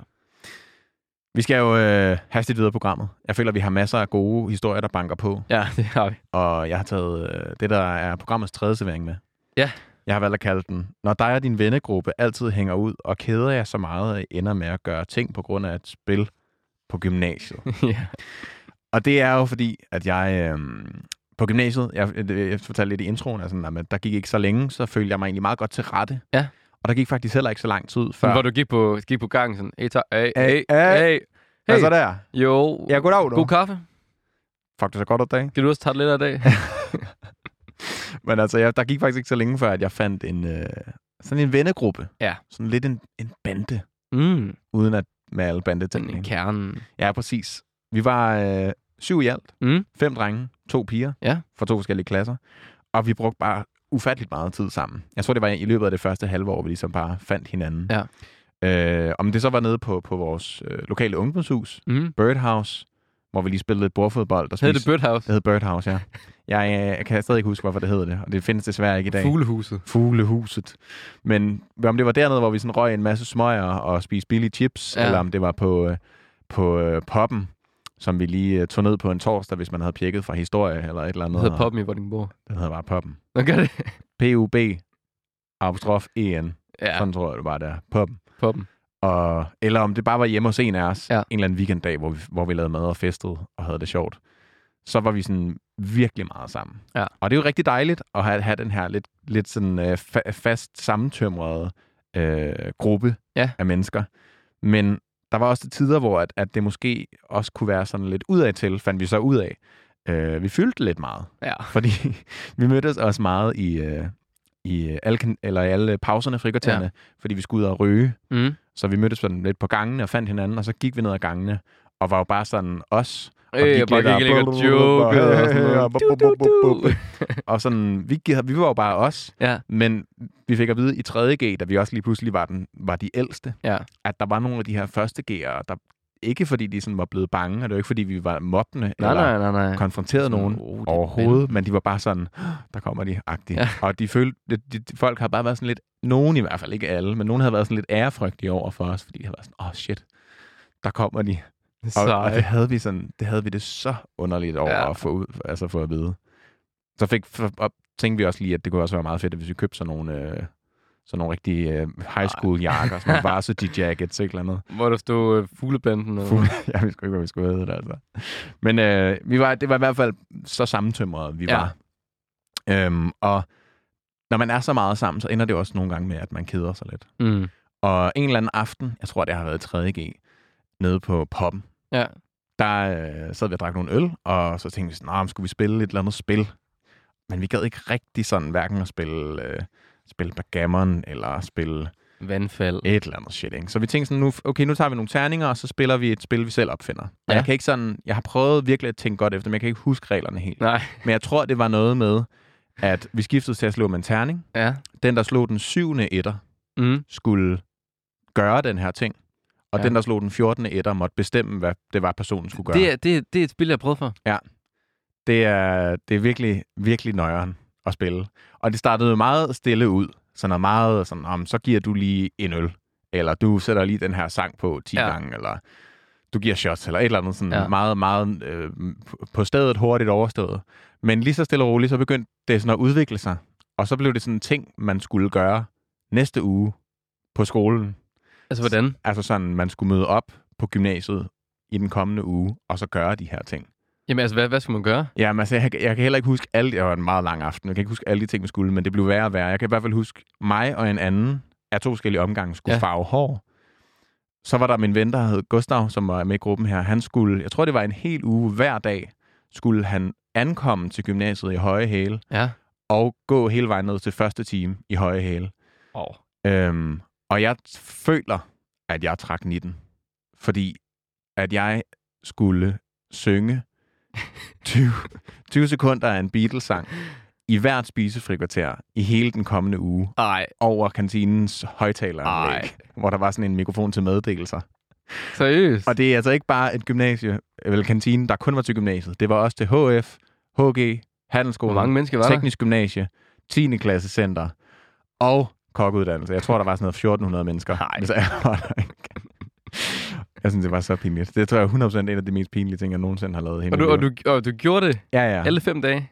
A: Vi skal jo øh, hastigt videre i programmet. Jeg føler, at vi har masser af gode historier, der banker på.
B: Ja, det har vi.
A: Og jeg har taget øh, det, der er programmets tredje servering med.
B: Ja.
A: Jeg har valgt at kalde den, når dig og din vennegruppe altid hænger ud og keder jer så meget, at I ender med at gøre ting på grund af et spil, på gymnasiet.
B: ja.
A: Og det er jo fordi, at jeg øhm, på gymnasiet, jeg, det- jeg fortalte lidt i introen, altså, at der gik ikke så længe, så følte jeg mig egentlig meget godt til rette.
B: Ja.
A: Og der gik faktisk heller ikke så lang tid før.
B: Men Hvor du gik på, gik på gangen sådan, hey, tak, hey,
A: Hey,
B: hey,
A: hey.
B: hey,
A: Hvad så der?
B: jo,
A: Ja, goddag, du.
B: god kaffe.
A: Fuck, det så godt ud, dag.
B: Skal du også tage det lidt af i dag?
A: Men altså, jeg, der gik faktisk ikke så længe før, at jeg fandt en, øh, sådan en vennegruppe.
B: Ja.
A: Sådan lidt en, en bande,
B: mm,
A: uden at med alle
B: den
A: bandetingene.
B: er
A: ikke?
B: kernen.
A: Ja, præcis. Vi var øh, syv i alt.
B: Mm.
A: Fem drenge, to piger
B: Ja.
A: fra to forskellige klasser. Og vi brugte bare ufatteligt meget tid sammen. Jeg tror, det var i løbet af det første halve år, vi ligesom bare fandt hinanden. Ja. Øh, om det så var nede på, på vores øh, lokale ungdomshus,
B: Mm.
A: Birdhouse, hvor vi lige spillede lidt bordfodbold. Og
B: Hed det
A: spiste-
B: Birdhouse?
A: Det hed Birdhouse, ja. Jeg, øh, jeg kan stadig ikke huske, hvorfor det hed det, og det findes desværre ikke i dag.
B: Fuglehuset.
A: Fuglehuset. Men om det var dernede, hvor vi sådan røg en masse smøger og spiste billige chips,
B: Ja.
A: ja. eller om det var på, øh, på øh, poppen, som vi lige øh, tog ned på en torsdag, hvis man havde pjekket fra historie eller et eller
B: Det
A: andet.
B: hedder Poppen i Vordingborg.
A: Den hedder bare poppen.
B: Nå, gør det?
A: P-U-B, apostrof E-N. Ja.
B: Ja,
A: E Sådan tror jeg, det bare det er. Poppen.
B: Poppen.
A: Og, eller om det bare var hjemme hos en af os,
B: Ja.
A: ja. en eller anden weekenddag, hvor vi, hvor vi lavede mad og festede og havde det sjovt. Så var vi sådan virkelig meget sammen.
B: Ja.
A: Og det er jo rigtig dejligt at have, have den her lidt, lidt sådan øh, fa- fast sammentømrede øh, gruppe
B: Ja.
A: af mennesker. Men der var også til tider, hvor at, at det måske også kunne være sådan lidt udad til, fandt vi så ud af. Øh, vi fyldte lidt meget,
B: Ja.
A: fordi vi mødtes også meget i, øh, i øh, alle, kan- eller i alle pauserne, frikvartererne, ja. fordi vi skulle ud og ryge.
B: Mm.
A: Så vi mødtes sådan lidt på gangene og fandt hinanden, og så gik vi ned ad gangene, og var jo bare sådan os. Og
B: Øh,
A: gik
B: jeg bare
A: lidt
B: gik lidt og
A: og-
B: jokede og sådan noget.
A: Og-
B: Du, du, du.
A: Og sådan, vi, gi- vi var jo bare os,
B: Ja.
A: men vi fik at vide i 3.G, da vi også lige pludselig var, den, var de ældste,
B: Ja.
A: at der var nogle af de her første G'ere, der ikke fordi de sådan var blevet bange, og det var ikke fordi vi var mobbende
B: Nej,
A: eller
B: nej, nej, nej.
A: konfronteret
B: Sådan,
A: nogen
B: oh, de
A: overhovedet, men de var bare sådan, "Åh, der kommer de, agtige.
B: Ja.
A: Ja. Og de følte, de, de, de, folk har bare været sådan lidt, nogen i hvert fald, ikke alle, men nogen havde været sådan lidt ærefrygtige over for os, fordi de havde været sådan, åh oh, shit, der kommer de. Og, og, det
B: Sej.
A: havde vi sådan, det havde vi det så underligt over
B: Ja.
A: ja. at få ud, altså få at vide. Så fik, for, og tænkte vi også lige, at det kunne også være meget fedt, hvis vi købte sådan nogle, øh, sådan nogle rigtige øh, high school jakker, sådan nogle varsity jackets, ikke eller andet.
B: Hvor der stod øh, fuglebanden. Og...
A: Fuld. Ja, vi skulle ikke, hvad vi skulle hedde det, altså. Men øh, vi var, det var i hvert fald så sammentømrede, vi ja.
B: Ja.
A: var. Øhm, og når man er så meget sammen, så ender det jo også nogle gange med, at man keder sig lidt.
B: Mm.
A: Og en eller anden aften, jeg tror, det har været 3.G, nede på poppen,
B: Ja.
A: der øh, sad vi og drak nogle øl, og så tænkte vi sådan, "Nå, men skulle vi spille et eller andet spil? Men vi gad ikke rigtig sådan, hverken at spille, øh, spille backgammon, eller spille
B: Vandfald.
A: et eller andet shit, ikke? Så vi tænkte sådan, nu, okay, nu tager vi nogle terninger, og så spiller vi et spil, vi selv opfinder. Og
B: Ja.
A: ja. jeg kan ikke sådan, jeg har prøvet virkelig at tænke godt efter, men jeg kan ikke huske reglerne helt.
B: Nej.
A: Men jeg tror, det var noget med, at vi skiftede til at slå med en terning.
B: Ja.
A: Den, der slog den syvende etter,
B: Mm.
A: skulle gøre den her ting. Og
B: Ja.
A: ja. den, der slog den 14. etter, måtte bestemme, hvad det var, personen skulle gøre.
B: Det, er, det, er, det er et spil, jeg har prøvet for.
A: det er, det er virkelig, virkelig nøjeren at spille. Og det startede jo meget stille ud. Sådan noget meget sådan, om, så giver du lige en øl. Eller du sætter lige den her sang på 10
B: Ja.
A: ja. gange, eller du giver shots, eller et eller andet sådan
B: Ja.
A: ja. meget, meget øh, på stedet hurtigt overstået. Men lige så stille og roligt, så begyndte det sådan at udvikle sig. Og så blev det sådan en ting, man skulle gøre næste uge på skolen.
B: Altså, hvordan?
A: Altså sådan, man skulle møde op på gymnasiet i den kommende uge, og så gøre de her ting.
B: Jamen, altså, hvad, hvad skulle man gøre?
A: Ja, men altså, jeg, jeg kan heller ikke huske alle... Det var en meget lang aften. Jeg kan ikke huske alle de ting, vi skulle, men det blev værre og værre. Jeg kan i hvert fald huske, mig og en anden af to forskellige omgange skulle
B: Ja.
A: ja. farve hår. Så var der min ven, der hed Gustav, som var med i gruppen her. Han skulle, jeg tror, det var en hel uge hver dag, skulle han ankomme til gymnasiet i høje hæle
B: Ja.
A: og gå hele vejen ned til første time i høje hæle.
B: Oh.
A: Øhm, og jeg t- føler, at jeg trak 19. Fordi at jeg skulle synge 20, 20 sekunder af en Beatles-sang i hvert spisefrikvarter i hele den kommende uge
B: Ej,
A: over kantinens højtaleranlæg, hvor der var sådan en mikrofon til meddelelser.
B: seriøst?
A: Og det er altså ikke bare et gymnasie, eller kantine, der kun var til gymnasiet. Det var også til HF, HG, Handelsskolen,
B: Hvor mange mennesker var
A: teknisk gymnasie, 10. klasse center og kokkeuddannelse. Jeg tror, der var sådan noget 1400 mennesker.
B: Nej.
A: Hvis jeg var der ikke. Jeg synes, det var så pinligt. Det tror jeg er 100% en af de mest pinlige ting, jeg nogensinde har lavet. i hele
B: der? Og du,
A: mit
B: og,
A: liv.
B: du, og du gjorde det
A: Ja, ja.
B: ja. alle fem dage?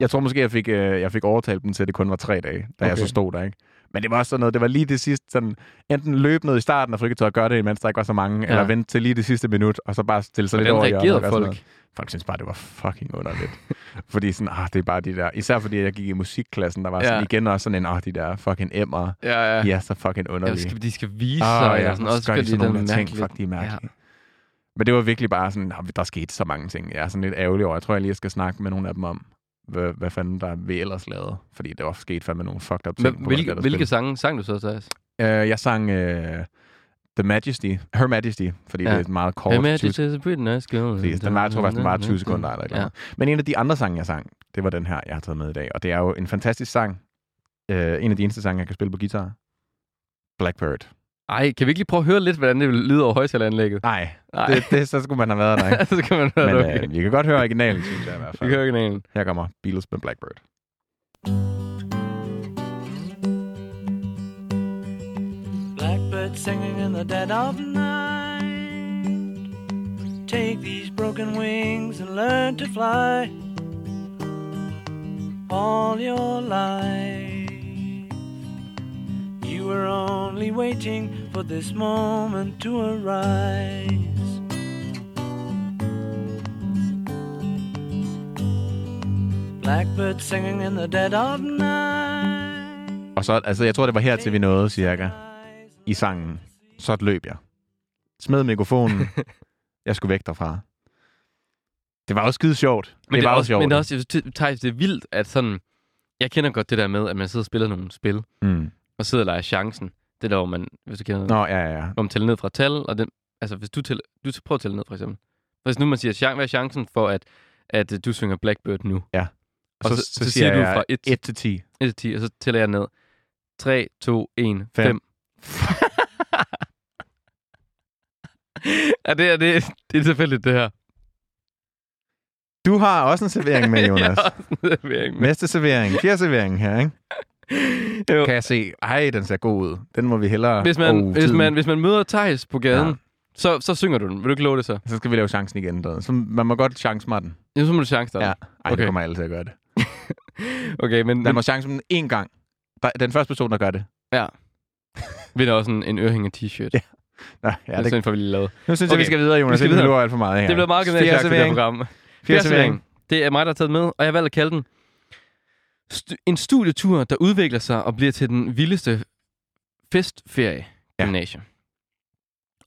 A: Jeg tror måske, jeg fik, øh, jeg fik overtalt dem til, at det kun var tre dage, da okay.
B: Okay.
A: jeg så stod der. Ikke? Men det var også sådan noget, det var lige det sidste, sådan, enten løb ned i starten af friketøjet og gøre det, imens der ikke var så mange, ja. eller vente til lige det sidste minut, og så bare stille sig lidt
B: Hvordan
A: over i hjørnet og
B: reagerede
A: gøre sådan
B: folk?
A: noget. Folk synes bare, det var fucking underligt. fordi sådan, ah, det er bare de der, især fordi jeg gik i musikklassen, der var sådan
B: Ja.
A: igen også sådan en, ah, de der fucking emmer,
B: Ja, ja.
A: de er så fucking
B: Eller
A: underlige.
B: skal, de skal vise
A: Ah,
B: sig.
A: ja,
B: eller
A: så
B: sådan, og så
A: gør
B: skal
A: de sådan nogle ting,
B: mærkeligt.
A: fuck, de er mærkelige. Men det var virkelig bare sådan, "Nå, der skete så mange ting. Jeg er sådan lidt ærgerlig over. Jeg tror, jeg lige skal snakke med nogle af dem om, hvad, hvad fanden der vi ellers lavede. Fordi det var sket fandme nogle fucked up
B: Ja.
A: ting. på
B: Hvilke,
A: Golgata
B: hvilke
A: Spil.
B: sange sang du så, Thijs?
A: Øh, jeg sang øh, The Majesty, Her Majesty, fordi
B: Ja.
A: ja. det er et meget kort.
B: Hey, man,
A: 20
B: this is a pretty nice girl.
A: Præcis. Den var, jeg tror faktisk, den var 20 sekunder eller et eller andet. Men en af de andre sange, jeg sang, det var den her, jeg har taget med i dag. Og det er jo en fantastisk sang. Øh, en af de eneste sange, jeg kan spille på guitar. Blackbird.
B: Ej, kan vi ikke lige prøve at høre lidt, hvordan det lyder over højtaleranlægget?
A: Nej,
B: Nej.
A: det, det, så skulle man have været der, ikke?
B: så kan man høre det.
A: Men
B: Okay.
A: øh, vi kan godt høre originalen, synes jeg i hvert
B: Vi kan
A: fald.
B: høre kanalen.
A: Her kommer Beatles med Blackbird.
E: Blackbird singing in the dead of night. Take these broken wings and learn to fly all your life. You were only waiting for this moment to arise. Blackbird singing in the dead of night.
A: Og så, altså, jeg tror, det var her til vi nåede, cirka, i sangen. Så løb jeg. Smed mikrofonen. jeg skulle væk derfra. Det var også skide sjovt.
B: Men det,
A: var
B: er
A: jo
B: også, men det er også, jeg synes, Thijs, det er vildt, at sådan... Jeg kender godt det der med, at man sidder og spiller nogle spil,
A: Mm.
B: og sidder og leger chancen. Det der, hvor man, hvis du kender det,
A: Nå, ja, ja, ja.
B: hvor man tæller ned fra tal, og den, altså hvis du, tæller, du skal prøve at tælle ned, for eksempel. Hvis nu man siger, "Chan- hvad er chancen for, at, at øh, du synger Blackbird nu?
A: Og så, så, så siger du fra 1, 1 til 10.
B: 1 til 10, og så tæller jeg ned. 3, 2, 1,
A: Fem.
B: 5. ja, det er, det, det er tilfældigt, det her.
A: Du har også en servering med, Jonas.
B: Jeg er også en servering med.
A: Næste servering. Fjerde servering her, ikke?
B: Jo.
A: Kan jeg se. Ej, den ser god ud. Den må vi hellere...
B: Hvis man,
A: Åh,
B: hvis
A: tiden.
B: man, hvis man møder Thijs på gaden,
A: Ja.
B: så, så synger du den. Vil du ikke love det så?
A: Så skal vi lave chancen igen. Der. Så man må godt chance mig den.
B: Ja, så må du chance dig.
A: Ja. Ej, okay.
B: Okay.
A: det kommer alle til at gøre det.
B: Okay, men,
A: Man
B: men
A: må chance med den én gang. Der, den første person, der gør det.
B: vinder også en, en ørehænger t-shirt. Ja,
A: Nå,
B: det
A: ja,
B: er
A: det,
B: sådan, for vi lige lavede.
A: nu synes jeg,
B: Okay.
A: vi skal videre, Jonas.
B: Vi skal
A: Inden Vi skal
B: videre.
A: videre. alt for meget her.
B: Det blev meget gymnasiet, det her
A: servering.
B: program.
A: Fjerde servering.
B: Det er mig, der har taget med, og jeg har valgt at kalde den st- en studietur, der udvikler sig og bliver til den vildeste festferie
A: Ja.
B: gymnasium.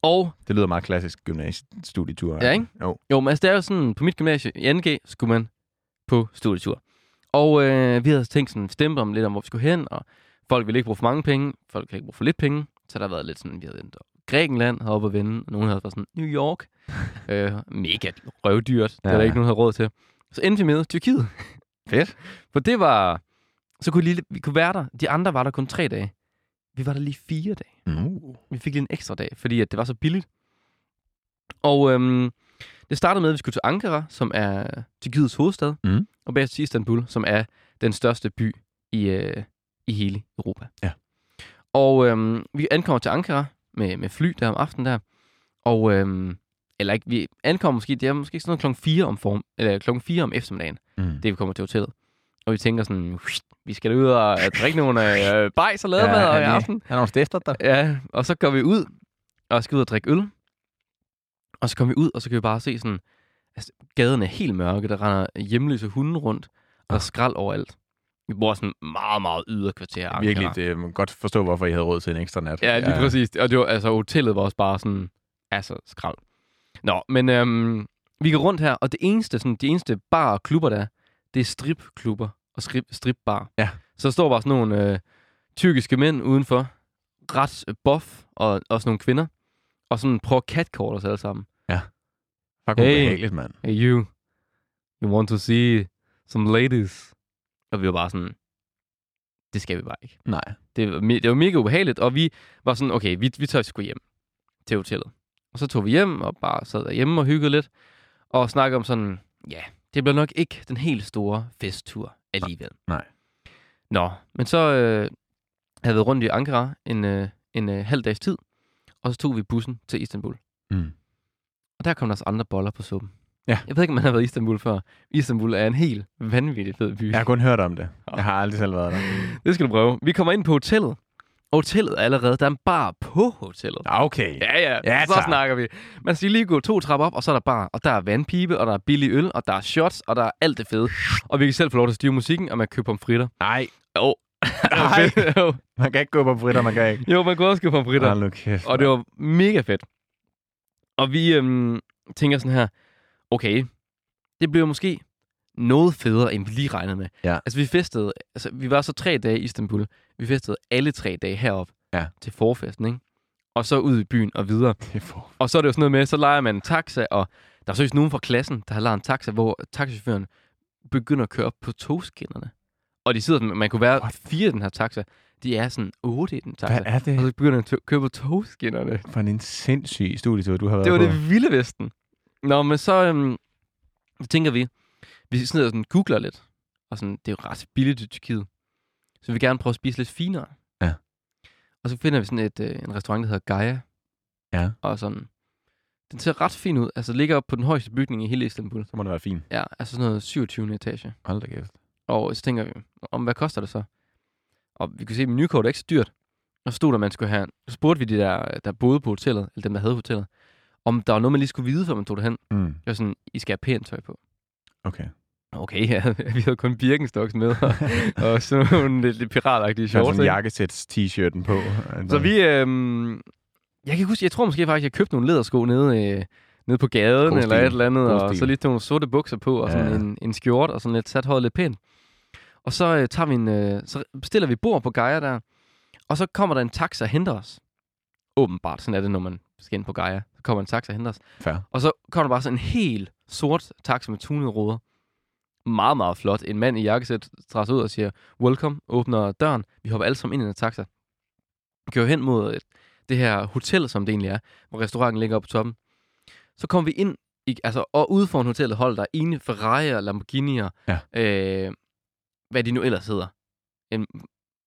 B: Og,
A: Det lyder meget klassisk gymnasiestudietur.
B: Ja, ikke?
A: Jo.
B: jo, men altså, det er jo sådan, på mit gymnasie i 2G skulle man på studietur. Og øh, vi havde tænkt sådan, stemt om lidt om, hvor vi skulle hen, og folk ville ikke bruge for mange penge, folk ville ikke bruge for lidt penge, så der har været lidt sådan, vi havde endt op- Grækenland havde oppe at vinde, og nogen havde fra sådan New York. øh, mega røvdyrt, det ja.
A: Ja.
B: der ikke nogen havde råd til. Så endte vi med Tyrkiet.
A: Fedt.
B: For det var... Så kunne vi lige, vi kunne være der. De andre var der kun tre dage. Vi var der lige fire dage.
A: Mm.
B: Vi fik lige en ekstra dag, fordi at det var så billigt. Og øhm, det startede med, at vi skulle til Ankara, som er Tyrkiets hovedstad,
A: Mm.
B: og bagefter til Istanbul, som er den største by i, øh, i hele Europa.
A: Ja.
B: Og øhm, vi ankommer til Ankara med, med fly der om aftenen der, og øhm, eller ikke, vi ankommer måske, det er måske sådan noget klokken 4 om, form, eller klokken 4 om eftermiddagen
A: Mm.
B: det vi kommer til hotellet. Og vi tænker sådan, vi skal da ud og øh, drikke nogle øh, bajs og
A: Ja,
B: lademad ja, i
A: han er-
B: aften.
A: Han har nogle stifter der.
B: Ja, og så går vi ud og skal ud og drikke øl. Og så kommer vi ud, og så kan vi bare se sådan, altså, gaden er helt mørke, der render hjemløse hunde rundt, og der er skrald overalt. Vi bor sådan meget, meget yderkvarter. Ankara.
A: Virkelig, det man kan godt forstå, hvorfor I havde råd til en ekstra nat.
B: Ja, lige ja. præcis. Og det var, altså, hotellet var også bare sådan, altså, skrald. Nå, men øhm, vi går rundt her, og det eneste, sådan, de eneste bar og klubber, der er, det er stripklubber og strip, stripbar.
A: Ja.
B: Så der står bare sådan nogle øh, tyrkiske mænd udenfor, ret buff, og også nogle kvinder, og sådan prøver at catcall os alle sammen.
A: Fuck, hey.
B: Hey.
A: ubehageligt, mand.
B: Hey you, you want to see some ladies? Og vi var bare sådan, det skal vi bare ikke.
A: Nej.
B: Det var, me- det var mega ubehageligt, og vi var sådan, okay, vi, vi tager sgu hjem til hotellet. Og så tog vi hjem og bare sad derhjemme og hyggede lidt, og snakkede om sådan, ja, det bliver nok ikke den helt store festtur alligevel.
A: Nej.
B: Nå, men så øh, havde jeg været rundt i Ankara en, øh, en øh, halv dags tid, og så tog vi bussen til Istanbul.
A: Mm.
B: Og der kom der også andre boller på suppen.
A: Ja.
B: Jeg ved ikke, om man har været i Istanbul før. Istanbul er en helt vanvittig fed by.
A: Jeg har kun hørt om det. Jeg har aldrig selv været der.
B: Det skal du prøve. Vi kommer ind på hotellet, Hotellet er allerede, der er en bar på hotellet.
A: Okay.
B: Ja, ja,
A: Ja,
B: så
A: tak.
B: snakker vi. Man skal lige gå to trapper op, og så er der bar, og der er vandpibe, og der er billig øl, og der er shots, og der er alt det fede. Og vi kan selv få lov til at styre musikken, og man kan købe pomfritter.
A: Nej,
B: Jo.
A: Nej.
B: jo.
A: man kan ikke gå på fritter, man kan ikke.
B: jo, man kunne også købe pomfritter.
A: Hold nu kæft.
B: Og det var mega fedt. Og vi øhm, tænker sådan her, okay, det bliver måske noget federe, end vi lige regnede med.
A: Ja.
B: Altså, vi festede, altså, vi var så tre dage i Istanbul. Vi festede alle tre dage heroppe
A: Ja.
B: til forfesten, ikke? Og så ud i byen og videre.
A: Det er for...
B: Og så er det jo sådan noget med, så leger man en taxa, og der er seriøst nogen fra klassen, der har lejet en taxa, hvor taxichaufføren begynder at køre op på togskinnerne. Og de sidder, sådan- man kunne være
A: What?
B: fire i den her taxa. De er sådan otte i den taxa.
A: Hvad er
B: Og
A: det
B: så begynder de at køre på togskinnerne.
A: for en sindssyg studietur, du har været
B: Det var
A: på?
B: det vilde vesten. Nå, men så øhm, så tænker vi, vi sidder og sådan googler lidt, og sådan, det er jo ret billigt i Tyrkiet. Så vi vil gerne prøve at spise lidt finere.
A: Ja.
B: Og så finder vi sådan et, øh, en restaurant, der hedder Gaia.
A: Ja.
B: Og sådan, den ser ret fin ud. Altså, ligger oppe på den højeste bygning i hele Istanbul.
A: Så må det være fint.
B: Ja, altså sådan noget 27. etage.
A: Hold da kæft.
B: Og så tænker vi, om hvad koster det så? Og vi kunne se, at menukortet er ikke så dyrt. Og så stod der, man skulle have... Så spurgte vi de der, der boede på hotellet, eller dem, der havde hotellet, om der var noget, man lige skulle vide, før man tog derhen.
A: Mm.
B: Det var sådan, I skal have pænt tøj på.
A: Okay.
B: Okay, ja, vi havde kun Birkenstocks med, og, og sådan nogle lidt, lidt piratagtige
A: Så
B: shorts.
A: sådan
B: ikke?
A: jakkesæts-t-shirten på.
B: Så
A: Altså-
B: vi... Øhm, jeg kan ikke huske, jeg tror måske faktisk, jeg købte nogle lædersko nede, øh, nede på gaden
A: God
B: eller
A: stil.
B: et eller andet,
A: God
B: og
A: stil.
B: så lige tog nogle sorte bukser på, og
A: Ja,
B: sådan
A: ja.
B: en, en skjort, og sådan lidt sat håret lidt pænt. Og så, øh, tager vi en, øh, så bestiller vi bord på Gaia der, og så kommer der en taxa og henter os. Åbenbart, sådan er det, når man skal ind på Gaia. Så kommer en taxa og henter os.
A: Fair.
B: Og så kommer der bare sådan en helt sort taxa med tunede ruder. Meget, meget flot. En mand i jakkesæt træder ud og siger, welcome, åbner døren. Vi hopper alle sammen ind i den her taxa. Vi kører hen mod øh, det her hotel, som det egentlig er, hvor restauranten ligger oppe på toppen. Så kommer vi ind, i, altså, og ude foran hotellet holder der ene Ferrari'er, Lamborghini'er,
A: Ja.
B: øh, hvad de nu ellers hedder. En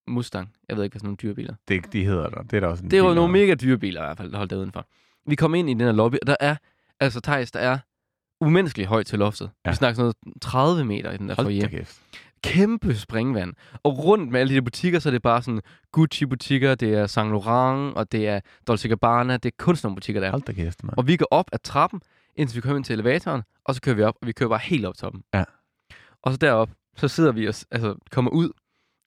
B: Mustang. Jeg ved ikke, hvad sådan nogle dyrebiler.
A: Det, de hedder der. Det er da også en
B: Det var
A: vild
B: nogle
A: navn.
B: mega dyre biler i hvert fald, der holdt derudenfor. Vi kom ind i den her lobby, og der er, altså Thijs, der er umenneskeligt højt til loftet. Ja.
A: Ja.
B: Vi snakker sådan noget 30 meter i den der
A: Hold
B: foyer.
A: da kæft.
B: Kæmpe springvand. Og rundt med alle de der butikker, så er det bare sådan Gucci-butikker, det er Saint Laurent, og det er Dolce Gabbana, det er kunstnerbutikker, der er.
A: Hold da kæft, mand.
B: Og vi går op ad trappen, indtil vi kommer ind til elevatoren, og så kører vi op, og vi kører bare helt op toppen.
A: Ja.
B: Og så derop, så sidder vi og s- altså, kommer ud,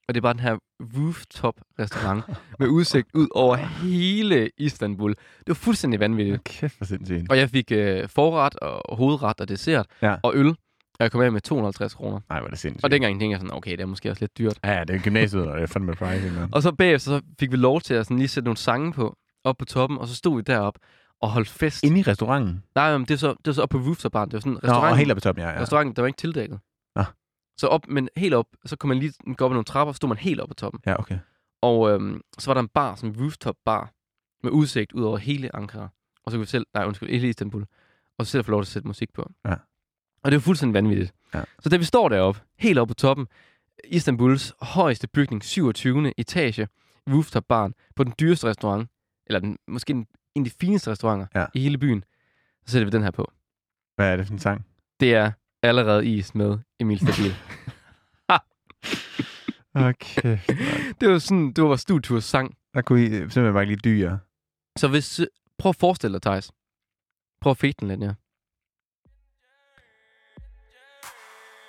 B: og det er bare den her rooftop-restaurant med udsigt ud over hele Istanbul. Det var fuldstændig vanvittigt.
A: Kæft, hvor sindssygt.
B: Og jeg fik øh, forret og hovedret og dessert
A: Ja.
B: og øl, og jeg kom af med 250 kroner.
A: Nej, hvor er det sindssygt.
B: Og dengang tænkte jeg sådan, okay, det er måske også lidt dyrt.
A: Ja, ja, det er gymnasiet, og det er fandme pricing, mand.
B: Og så bagefter så fik vi lov til at sådan lige sætte nogle sange på, op på toppen, og så stod vi derop og holdt fest.
A: Inde i restauranten?
B: Nej, men det var så, det var så op på rooftop-baren. Det var sådan
A: Nå, og
B: restauranten-
A: helt oppe i toppen, ja.
B: ja.
A: ja.
B: restauranten, der var ikke tildækket.
A: Nå.
B: Så op, men helt op, så kunne man lige gå op ad nogle trapper, og stod man helt op på toppen.
A: Ja, okay.
B: Og øhm, så var der en bar, sådan en rooftop bar, med udsigt ud over hele Ankara. Og så kunne vi selv, nej undskyld, hele Istanbul. Og så selv få lov til at sætte musik på.
A: Ja.
B: Og det var fuldstændig vanvittigt.
A: Ja.
B: Så da vi står deroppe, helt oppe på toppen, Istanbuls højeste bygning, 27. etage, rooftop baren, på den dyreste restaurant, eller den, måske en, en af de fineste restauranter
A: Ja.
B: i hele byen, så sætter vi den her på.
A: Hvad er det for en sang?
B: Det er allerede is med Emil Stabil.
A: Åh, kæft.
B: Det var sådan, det var vores studieturs sang.
A: Der kunne I simpelthen bare ikke lide dyre.
B: Så hvis, prøv at forestille dig, Thijs. Prøv at fede den lidt, ja.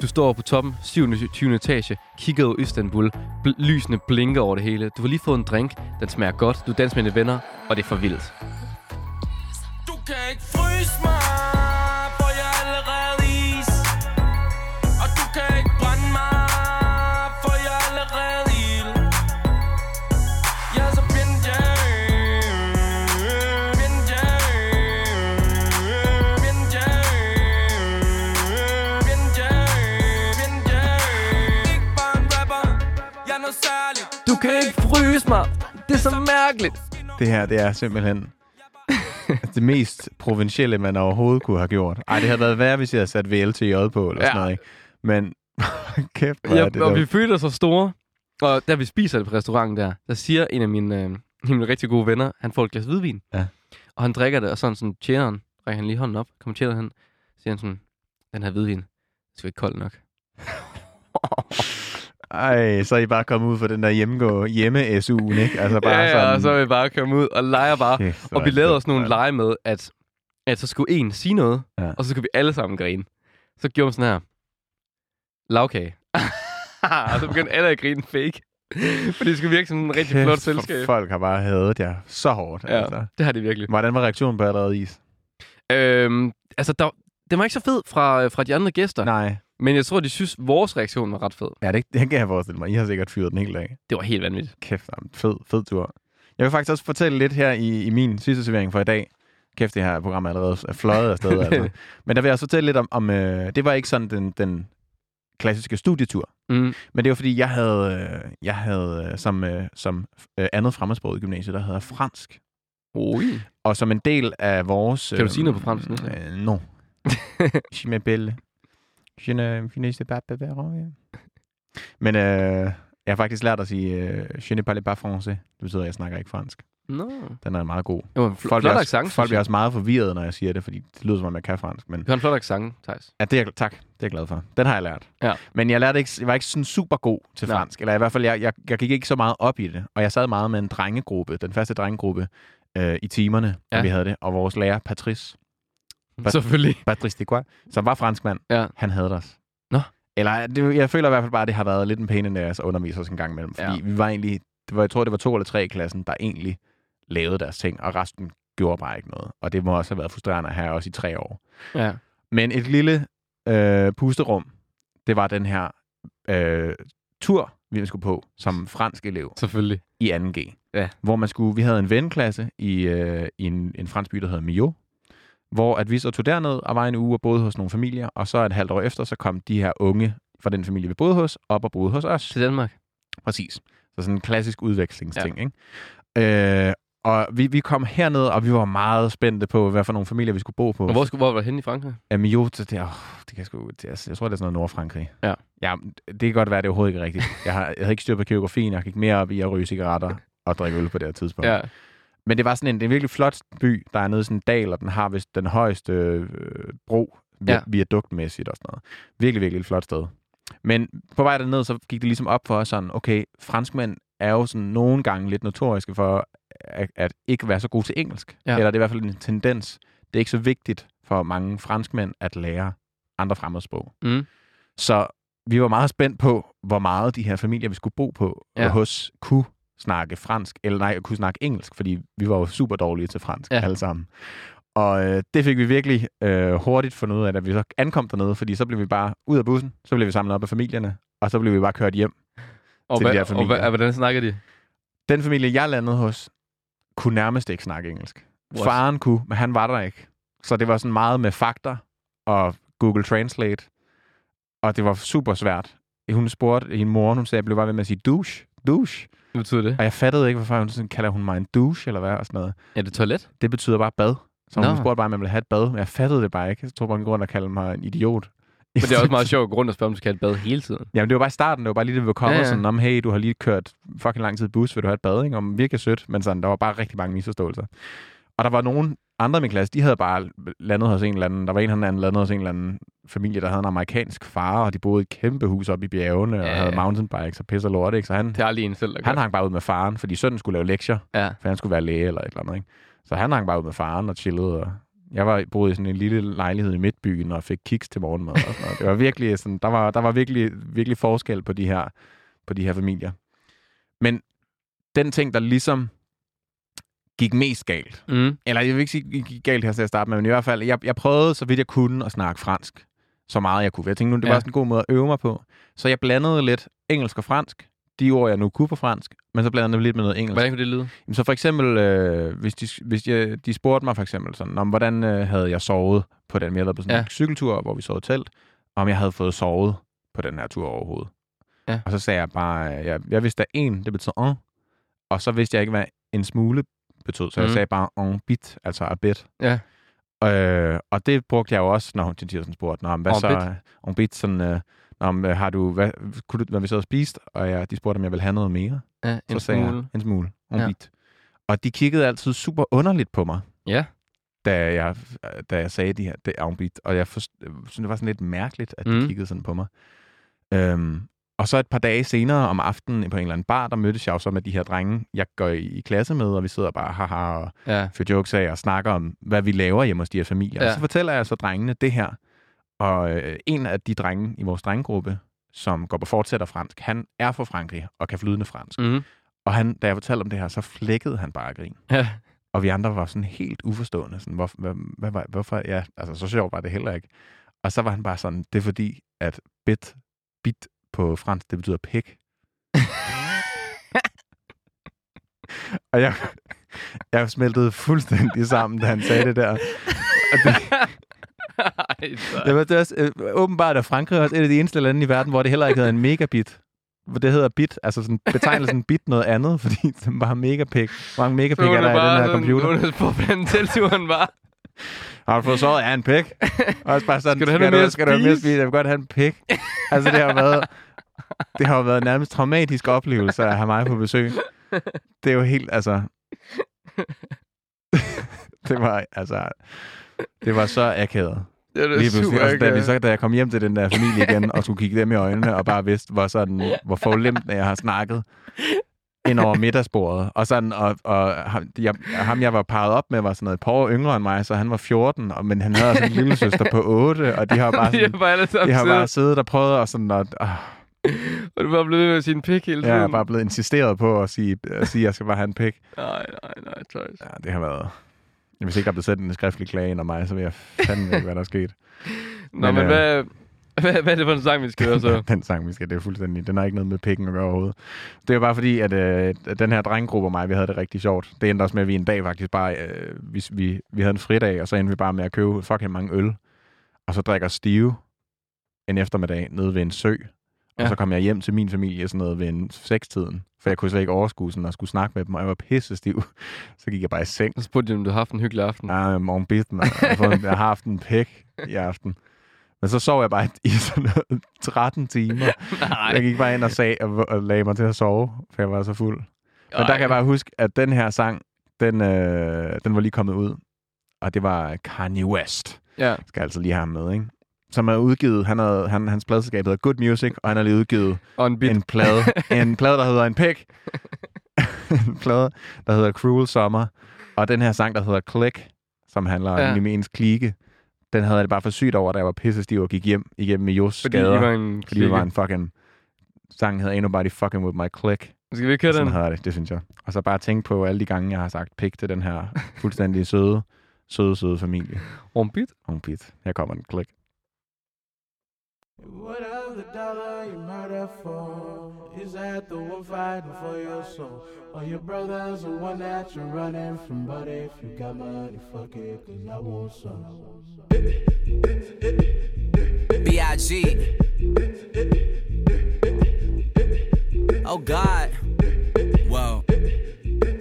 B: Du står på toppen, 27. etage, kigger ud i Istanbul. Bl- lysene blinker over det hele. Du har lige fået en drink, den smager godt, du danser med dine venner, og det er for vildt.
D: Du kan ikke fryse mig, for jeg er allerede is Og du kan ikke brænde mig, for jeg er allerede ild Jeg er så pinjam Jeg er noget særligt
B: Du kan ikke fryse mig! Det er så mærkeligt!
A: Det her, det er simpelthen det mest provincielle, man overhovedet kunne have gjort. Ej, det havde været værre, hvis jeg havde sat VLTJ på, eller
B: Ja.
A: ja. sådan noget, ikke? Men kæft, hvor er det
B: Ja, og
A: dumt.
B: vi følte os så store. Og da vi spiser det på restauranten der, der siger en af mine, øh, en af mine rigtig gode venner, han får et glas hvidvin.
A: Ja.
B: Og han drikker det, og sådan, sådan tjeneren, rækker han lige hånden op, kommer tjeneren hen, siger han sådan, den her hvidvin, det skal ikke kold nok.
A: Ej, så er I bare kommet ud for den der hjemmegå, hjemme-SU'en, ikke? Altså bare
B: ja, ja,
A: sådan...
B: og så vil vi bare komme ud og lege bare.
A: Kæft, hvor
B: og vi
A: er det
B: lavede
A: fedt,
B: også nogle
A: mand.
B: lege med, at, at så skulle en sige noget,
A: Ja.
B: ja. og så skulle vi alle sammen grine. Så gjorde man sådan her. Lavkage. og så begyndte alle at grine fake. Fordi det skulle virke som en rigtig
A: Kæft,
B: flot
A: hvor
B: selskab.
A: Folk har bare hadet jer så hårdt, ja. altså.
B: Ja, det har det virkelig.
A: Hvordan var reaktionen på allerede is?
B: Øhm, altså, der, den var ikke så fed fra, fra de andre gæster.
A: Nej.
B: Men jeg tror, de synes, vores reaktion var ret fed.
A: Ja, det, det kan jeg forestille mig. I har sikkert fyret den helt af.
B: Det var helt vanvittigt.
A: Kæft, jamen, fed, fed tur. Jeg vil faktisk også fortælle lidt her i, i min sidste servering for i dag. Kæft, det her program er allerede er fløjet afsted. altså. Men der vil jeg også fortælle lidt om... om øh, det var ikke sådan den, den klassiske studietur.
B: Mm.
A: Men det var fordi, jeg havde, øh, jeg havde øh, som, øh, som øh, andet fremmedsprog i gymnasiet, der hedder fransk.
B: Oi.
A: Og som en del af vores...
B: Kan du sige noget på fransk nu?
A: Øh, no. Je m'appelle. Je ne je ne sais pas parler. ja. Men øh, jeg har faktisk lært at sige, øh, je ne parle pas français. Det betyder, at jeg snakker ikke fransk.
B: Nå.
A: Den er meget god.
B: Det var en fl-
A: Folk,
B: flot
A: bliver,
B: accent.
A: også, folk bliver også meget forvirret, når jeg siger det, fordi det lyder som om, jeg kan fransk. Men
B: Du har en flot accent, Thijs.
A: Ja, det er, jeg- tak. Det er jeg glad for. Den har jeg lært.
B: Ja.
A: Men jeg, lærte ikke, jeg var ikke sådan super god til
B: Nej.
A: fransk. Eller i hvert fald, jeg, jeg, jeg gik ikke så meget op i det. Og jeg sad meget med en drengegruppe, den første drengegruppe, øh, i timerne, ja.
B: Ja.
A: vi havde det. Og vores lærer, Patrice, Hvad?
B: Selvfølgelig.
A: Patrice Decois, som var franskmand,
B: Ja.
A: han havde os.
B: Nå.
A: Eller det, jeg føler i hvert fald bare, at det har været lidt en pæne deres at undervise os en gang imellem. Fordi
B: Ja.
A: vi var egentlig, det var, jeg tror, det var to eller tre i klassen, der egentlig lavede deres ting, og resten gjorde bare ikke noget. Og det må også have været frustrerende her også i tre år.
B: Ja.
A: Men et lille øh, pusterum, det var den her øh, tur, vi skulle på som fransk elev
B: Selvfølgelig.
A: i 2G.
B: Ja.
A: Hvor man skulle, vi havde en venneklasse i, øh, i en, en fransk by, der hedder Mio, hvor at vi så tog derned og var en uge og boede hos nogle familier, og så et halvt år efter, så kom de her unge fra den familie, vi boede hos, op og boede hos os.
B: Til Danmark.
A: Præcis. Så sådan en klassisk udvekslingsting, ja. ikke? Øh, og vi, vi kom herned, og vi var meget spændte på, hvad for nogle familier vi skulle bo på.
B: Og hvor, skulle, hvor var det henne i Frankrig?
A: Amio, det, det, oh, det kan jeg sgu... Det, er- jeg tror, det er sådan noget Nordfrankrig.
B: Ja.
A: ja. det kan godt være, det er overhovedet ikke rigtigt. Jeg, har, jeg havde ikke styr på geografien. Jeg gik mere op i at ryge cigaretter og drikke øl på det her tidspunkt.
B: Ja.
A: Men det var sådan en, det er en virkelig flot by, der er nede i sådan en dal, og den har vist den højeste øh, bro, vi, ja.
B: Ja.
A: viaduktmæssigt og sådan noget. Virkelig, virkelig et flot sted. Men på vej derned, så gik det ligesom op for os sådan, okay, franskmænd er jo sådan nogle gange lidt notoriske for at, at ikke være så gode til engelsk. Ja.
B: Ja.
A: Eller det er i hvert fald en tendens. Det er ikke så vigtigt for mange franskmænd at lære andre fremmedsprog.
B: Mm.
A: Så vi var meget spændt på, hvor meget de her familier, vi skulle bo på ja.
B: Ja.
A: hos, kunne snakke fransk, eller nej, kunne snakke engelsk, fordi vi var jo super dårlige til fransk ja.
B: Ja.
A: alle sammen. Og øh, det fik vi virkelig øh, hurtigt fundet ud af, da vi så ankom dernede, fordi så blev vi bare ud af bussen, så blev vi samlet op af familierne, og så blev vi bare kørt hjem.
B: Og,
A: Til de her
B: hvad, og,
A: familier.
B: hvad, og hvordan snakker de?
A: Den familie, jeg landede hos, kunne nærmest ikke snakke engelsk. What?
B: What?
A: Faren kunne, men han var der ikke. Så det var sådan meget med fakta og Google Translate. Og det var super svært. Hun spurgte en mor, hun sagde, jeg blev bare ved med at sige douche, douche.
B: Hvad betyder det?
A: Og jeg fattede ikke, hvorfor hun sådan, kalder hun mig en douche eller hvad og sådan noget.
B: Er det toilet?
A: Det betyder bare bad. Så hun
B: Nå.
A: spurgte bare, om jeg ville have et bad, men jeg fattede det bare ikke. Så tog man grund og kaldte mig en idiot.
B: Men det er også meget sjovt at gå rundt og spørge, om du skal have et bad hele tiden.
A: Jamen, det var bare i starten. Det var bare lige det, vi kom ja,
B: Ja,
A: ja.
B: ja.
A: sådan, om, hey, du har lige kørt fucking lang tid i bus, vil du have et bad, ikke? Om virkelig sødt, men sådan, der var bare rigtig mange misforståelser. Og der var nogen andre i min klasse, de havde bare landet hos en eller anden. Der var en eller anden landet hos en eller anden familie, der havde en amerikansk far, og de boede i et kæmpe hus oppe i bjergene, ja, og
B: Ja,
A: havde
B: ja.
A: mountainbikes og pisse og lort, ikke? Så han,
B: Det er aldrig en selv, der gør.
A: han hang bare ud med faren, fordi sønnen skulle lave lektier,
B: Ja.
A: for han skulle være læge eller et eller andet, ikke? Så han hang bare ud med faren og chillede, og jeg var, boede i sådan en lille lejlighed i midtbyen og fik kiks til morgenmad. Og sådan noget. Det var virkelig sådan, der var, der var virkelig, virkelig forskel på de, her, på de her familier. Men den ting, der ligesom gik mest galt,
B: Mm.
A: eller jeg vil ikke sige, gik galt her til at starte med, men i hvert fald, jeg, jeg prøvede så vidt jeg kunne at snakke fransk, så meget jeg kunne. Jeg tænkte nu, det var
B: Ja.
A: sådan en god måde at øve mig på. Så jeg blandede lidt engelsk og fransk, de ord, jeg nu kunne på fransk, men så blandede jeg dem lidt med noget engelsk.
B: Hvordan kunne det lyde?
A: Jamen, Så for eksempel, øh, hvis, de, hvis jeg, de spurgte mig for eksempel sådan, om hvordan øh, havde jeg sovet på den, vi havde været på sådan ja. en
B: Ja.
A: cykeltur, hvor vi sov i telt, og om jeg havde fået sovet på den her tur overhovedet.
B: Ja.
A: Og så sagde jeg bare, øh, jeg, jeg vidste at en, det betød en, og så vidste jeg ikke, hvad en smule betød, så mm. jeg
B: Mhm.
A: sagde bare en bit, altså a bit.
B: Ja.
A: Øh, og det brugte jeg jo også, når hun til Tirsen spurgte, når, hvad
B: En
A: så, en bit, sådan, øh, når, har du, hvad, kunne du, hvad vi så havde spist, og jeg, de spurgte, om jeg ville have noget mere
B: Ja, en
A: så sagde
B: smule.
A: Jeg, en smule. En ja.
B: Ja.
A: bit. Og de kiggede altid super underligt på mig,
B: Ja.
A: da jeg, da jeg sagde de her, det er en bit. Og jeg forst- øh, synes, det var sådan lidt mærkeligt, at de
B: Mm.
A: kiggede sådan på mig. Øhm, Og så et par dage senere om aftenen på en eller anden bar, der mødtes jeg jo så med de her drenge, jeg går i, i klasse med, og vi sidder bare haha og
B: Ja.
A: fyrer jokes af og snakker om, hvad vi laver hjemme hos de her familier.
B: Ja.
A: Ja. Og så fortæller jeg så drengene det her. Og øh, en af de drenge i vores drengegruppe, som går på fortsætter fransk, han er fra Frankrig og kan flydende fransk.
B: Mm.
A: Og han, da jeg fortalte om det her, så flækkede han bare af grin.
B: ja.
A: Og vi andre var sådan helt uforstående. Sådan, hvor, hvad, hvad, var- hvorfor? Ja, altså, så sjovt var det heller ikke. Og så var han bare sådan, det er fordi, at bit, bit på fransk, det betyder pik. og jeg, jeg smeltede fuldstændig sammen, da han sagde det der. Og det,
B: Ej, så.
A: det var, det var også, øh, åbenbart er Frankrig også et af de eneste lande i verden, hvor det heller ikke hedder en megabit. Hvor det hedder bit, altså sådan betegnelsen bit noget andet, fordi den bare megapik. Hvor mange megapik er der i den her computer?
B: Nu er det på den tilturen bare.
A: Har du fået såret af en pik? Og også bare sådan,
B: Skal du have noget mere at
A: skal du have mere at
B: spise?
A: spise? Jeg vil godt have en pik. Altså, det har jo været, det har jo været en nærmest traumatisk oplevelse at have mig på besøg. Det er jo helt, altså... det var, altså... Det var så akavet.
B: Det er
A: Lige pludselig.
B: super
A: Og så, da, vi,
B: akavet.
A: så, da jeg kom hjem til den der familie igen, og skulle kigge dem i øjnene, og bare vidste, hvor, sådan, hvor forlemt jeg har snakket ind over middagsbordet. Og, sådan, og, og ham, jeg, ham, jeg var parret op med, var sådan noget et par år yngre end mig, så han var 14, og, men han havde også en lille søster på 8, og de har bare,
B: De
A: sådan,
B: har bare alle
A: de
B: sammen
A: har bare
B: siddet,
A: siddet og prøvet, og, sådan, og, og
B: og du er bare blevet ved med sin pik hele tiden.
A: jeg er bare blevet insisteret på at sige, at, sige, at jeg skal bare have en pik.
B: Nej, nej, nej, tøjs.
A: Ja, det har været... Hvis ikke der er blevet sendt en skriftlig klage ind om mig, så ved jeg fandme ikke, hvad der er sket.
B: Nå, men,
A: Men, øh,
B: hvad, hvad, hvad er det for en sang, vi skal høre så?
A: den sang, vi skal, det er fuldstændig, den har ikke noget med pikken at gøre overhovedet. Det er bare fordi, at øh, at den her drengegruppe og mig, vi havde det rigtig sjovt. Det endte også med, at vi en dag faktisk bare, øh, vi, vi, vi havde en fridag, og så endte vi bare med at købe fucking mange øl. Og så drikker Stive en eftermiddag nede ved en sø. Og
B: Ja.
A: ja. så kom jeg hjem til min familie sådan noget ved en sekstiden. For jeg kunne slet ikke overskue sådan at skulle snakke med dem, og jeg var pissestiv. Så gik jeg bare i seng.
B: Så spurgte de, om du har haft en hyggelig aften.
A: Ja, Ah, morgen bitten. Jeg har, fået, jeg har haft en pæk i aften. Men så sov jeg bare i sådan noget 13 timer.
B: Nej.
A: Jeg gik bare ind og, sag, og, og lagde mig til at sove, for jeg var så fuld. Men der
B: Ej.
A: kan jeg bare huske, at den her sang, den, øh, den var lige kommet ud. Og det var Kanye West.
B: Ja.
A: Skal jeg altså lige have ham med, ikke? Som er udgivet, han havde, han, hans pladselskab hedder Good Music, og han har lige udgivet
B: Og en bit.
A: en plade. en plade, der hedder En Pik. en plade, der hedder Cruel Summer. Og den her sang, der hedder Click, som handler om
B: Ja.
A: ja. ens klike, den havde jeg det bare for sygt over, da jeg var pissestiv og gik hjem igennem med Jos
B: Fordi
A: skader.
B: I var en
A: Fordi det var en
B: klikke.
A: fucking... Sangen hedder Ain't Nobody Fucking With My Click.
B: Skal vi ikke høre den?
A: Sådan hedder det, det synes jeg. Og så bare tænke på alle de gange, jeg har sagt pik til den her fuldstændig søde, søde, søde familie.
B: Om bit?
A: Hun pit. Her kommer en klik.
F: Whatever dollar you murder for is that the war fighting for your soul. Or your brother's the one that you're running from. But if you got money, fuck it, cause I want some.
C: B.I.G. Oh God. Whoa.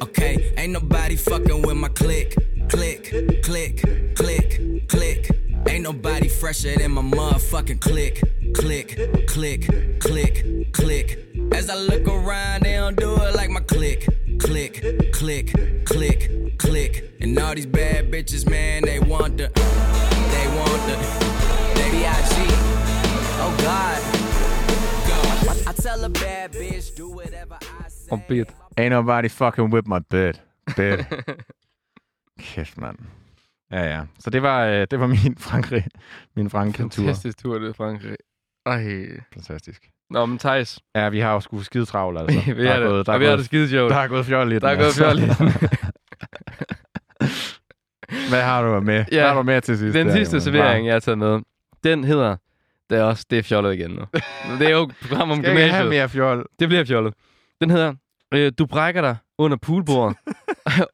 C: Okay, ain't nobody fucking with my click, click, click, click, click. Ain't nobody fresher than my motherfucking click, click, click, click, click. As I look around, they don't do it like my click, click, click, click, click. And all these bad bitches, man, they want the, they want the, they B.I.G. Oh God. Go. I tell a bad bitch, do whatever I say.
B: Om bit.
A: Ain't nobody fucking with my bed. Bed. Kæft, mand. Ja, ja. Så det var, øh, det var min Frankrig. Min Frankrig-tur.
B: Fantastisk tur, det er Frankrig. Ej.
A: Fantastisk.
B: Nå, men Thijs.
A: Ja, vi har jo sgu skide travlt, altså.
B: vi er
A: gået,
B: det.
A: der,
B: Og
A: er
B: vi har det
A: gået,
B: skide sjovt.
A: der er gået fjollet.
B: Der er gået fjollet.
A: Hvad har du med?
B: Ja.
A: Hvad har du med til sidst?
B: Den
A: der,
B: sidste
A: Jonas?
B: servering, jeg har taget med, den hedder... Det er også, det er fjollet igen nu. Det er jo et program om
A: Skal jeg ikke have
B: gymnasiet.
A: mere fjol?
B: Det bliver fjollet. Den hedder, øh, du brækker dig under poolbordet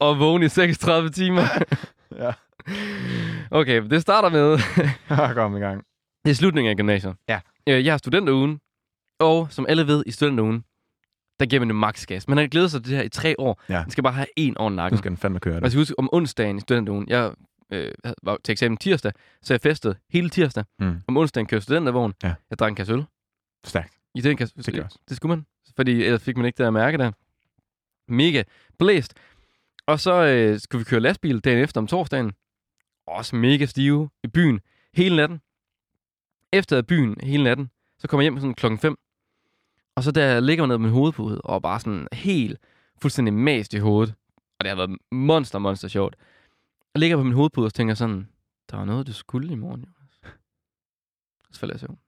B: og vågen i 36 timer.
A: Ja.
B: Okay, det starter med,
A: Kom i gang.
B: det er slutningen af gymnasiet.
A: Ja.
B: Øh, jeg har studenterugen, og som alle ved i studenterugen, der giver man jo maks gas. Man har glædet sig til det her i tre år.
A: Ja.
B: Man skal bare have en år
A: Nu
B: nakken.
A: skal den fandme køre det.
B: Man skal huske, om onsdagen i studenterugen, jeg øh, var til eksamen tirsdag, så jeg festede hele tirsdag.
A: Mm.
B: Om onsdagen kørte studentervogn.
A: Ja.
B: Jeg drak en kasse øl.
A: Stærkt.
B: I den kasse,
A: Det gør også.
B: det skulle man, fordi ellers fik man ikke det at mærke der. Mega blæst. Og så øh, skulle vi køre lastbil dagen efter om torsdagen. Også mega stive i byen hele natten. Efter byen hele natten, så kommer jeg hjem sådan klokken 5. Og så der ligger man ned med min hovedpude, og er bare sådan helt fuldstændig mast i hovedet. Og det har været monster, monster sjovt. Jeg ligger på min hovedpude og tænker sådan, der var noget, du skulle i morgen, Jonas. Så falder jeg i søvn.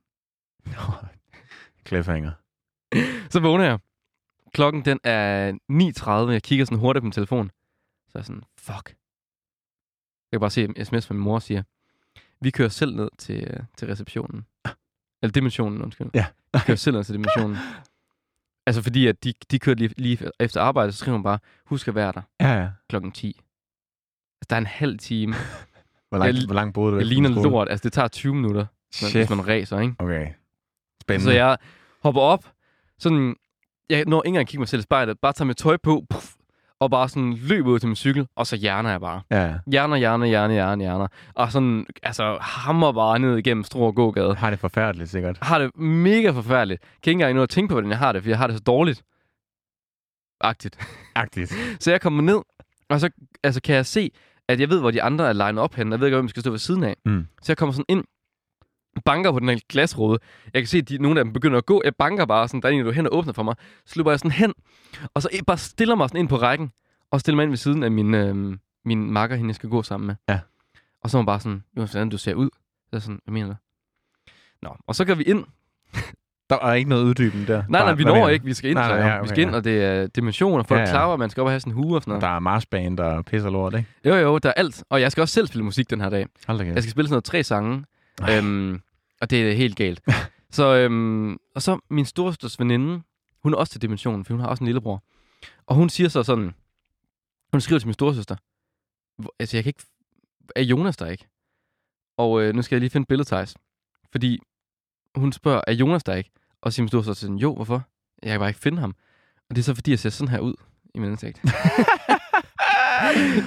A: Cliffhanger.
B: Så vågner jeg. Klokken den er 9.30. Jeg kigger sådan hurtigt på min telefon. Så er jeg sådan, fuck. Jeg kan bare se en sms fra min mor siger, vi kører selv ned til, øh, til receptionen. Eller dimensionen, undskyld.
A: Ja.
B: vi kører selv ned til dimensionen. Altså fordi, at de, de kørte lige, lige efter arbejde, så skriver hun bare, husk at være der
A: Ja, ja.
B: klokken 10. Altså, der er en halv time.
A: Hvor langt,
B: Jeg-
A: hvor langt boede du?
B: Det
A: væk fra
B: ligner
A: skole?
B: lort. Altså, det tager 20 minutter, når-
A: Shit.
B: hvis man racer, ikke?
A: Okay. Spændende.
B: Så jeg hopper op, sådan, jeg når ikke engang at kigge mig selv i spejlet, bare tager mit tøj på, puff, og bare sådan løber ud til min cykel, og så hjerner jeg bare.
A: Ja,
B: Hjerner, hjerner, hjerner, hjerner, hjerner. Og sådan, altså, hammer bare ned igennem Struer gågade.
A: jeg har det forfærdeligt sikkert.
B: Har det mega forfærdeligt. Kan ikke engang nå at tænke på, hvordan jeg har det, for jeg har det så dårligt. Agtigt.
A: Agtigt.
B: Så jeg kommer ned, og så altså, kan jeg se, at jeg ved, hvor de andre er lined op henne. Jeg ved ikke, hvem jeg skal stå ved siden af.
A: Mm.
B: Så jeg kommer sådan ind, banker på den her glasrude. Jeg kan se, at de, nogle af dem begynder at gå. Jeg banker bare sådan, der er en, der er hen og åbner for mig. Så løber jeg sådan hen, og så jeg bare stiller mig sådan ind på rækken, og stiller mig ind ved siden af min, øh, min makker, hende jeg skal gå sammen med.
A: Ja.
B: Og så er hun bare sådan, Jonas, hvordan du ser ud. Så er jeg sådan, hvad mener du? Nå, og så går vi ind.
A: Der er ikke noget uddybende der.
B: Nej, nej,
A: Bare-
B: vi
A: hvad
B: når
A: mener du?
B: ikke. Vi skal ind,
A: Nej,
B: nej,
A: nej, ja,
B: vi
A: okay,
B: skal ind,
A: ja.
B: og det er dimensioner. Folk
A: Ja,
B: ja,
A: ja.
B: ja. klarer, man skal op og have sin hue og sådan noget.
A: Der er marsband og pisser lort, ikke?
B: Jo, jo, der er alt. Og jeg skal også selv spille musik den her dag.
A: Hold da kæft.
B: Jeg skal spille sådan noget tre sange. Øhm, og det er helt galt. så, øhm, og så min storesøsters veninde, hun er også til Dimensionen, for hun har også en lillebror. Og hun siger så sådan, hun skriver til min storesøster, "Hvor- altså jeg kan ikke, er Jonas der ikke? Og øh, nu skal jeg lige finde billedet, Thijs. Fordi hun spørger, er Jonas der ikke? Og siger min storesøster sådan, jo, hvorfor? Jeg kan bare ikke finde ham. Og det er så fordi, jeg ser sådan her ud i min ansigt.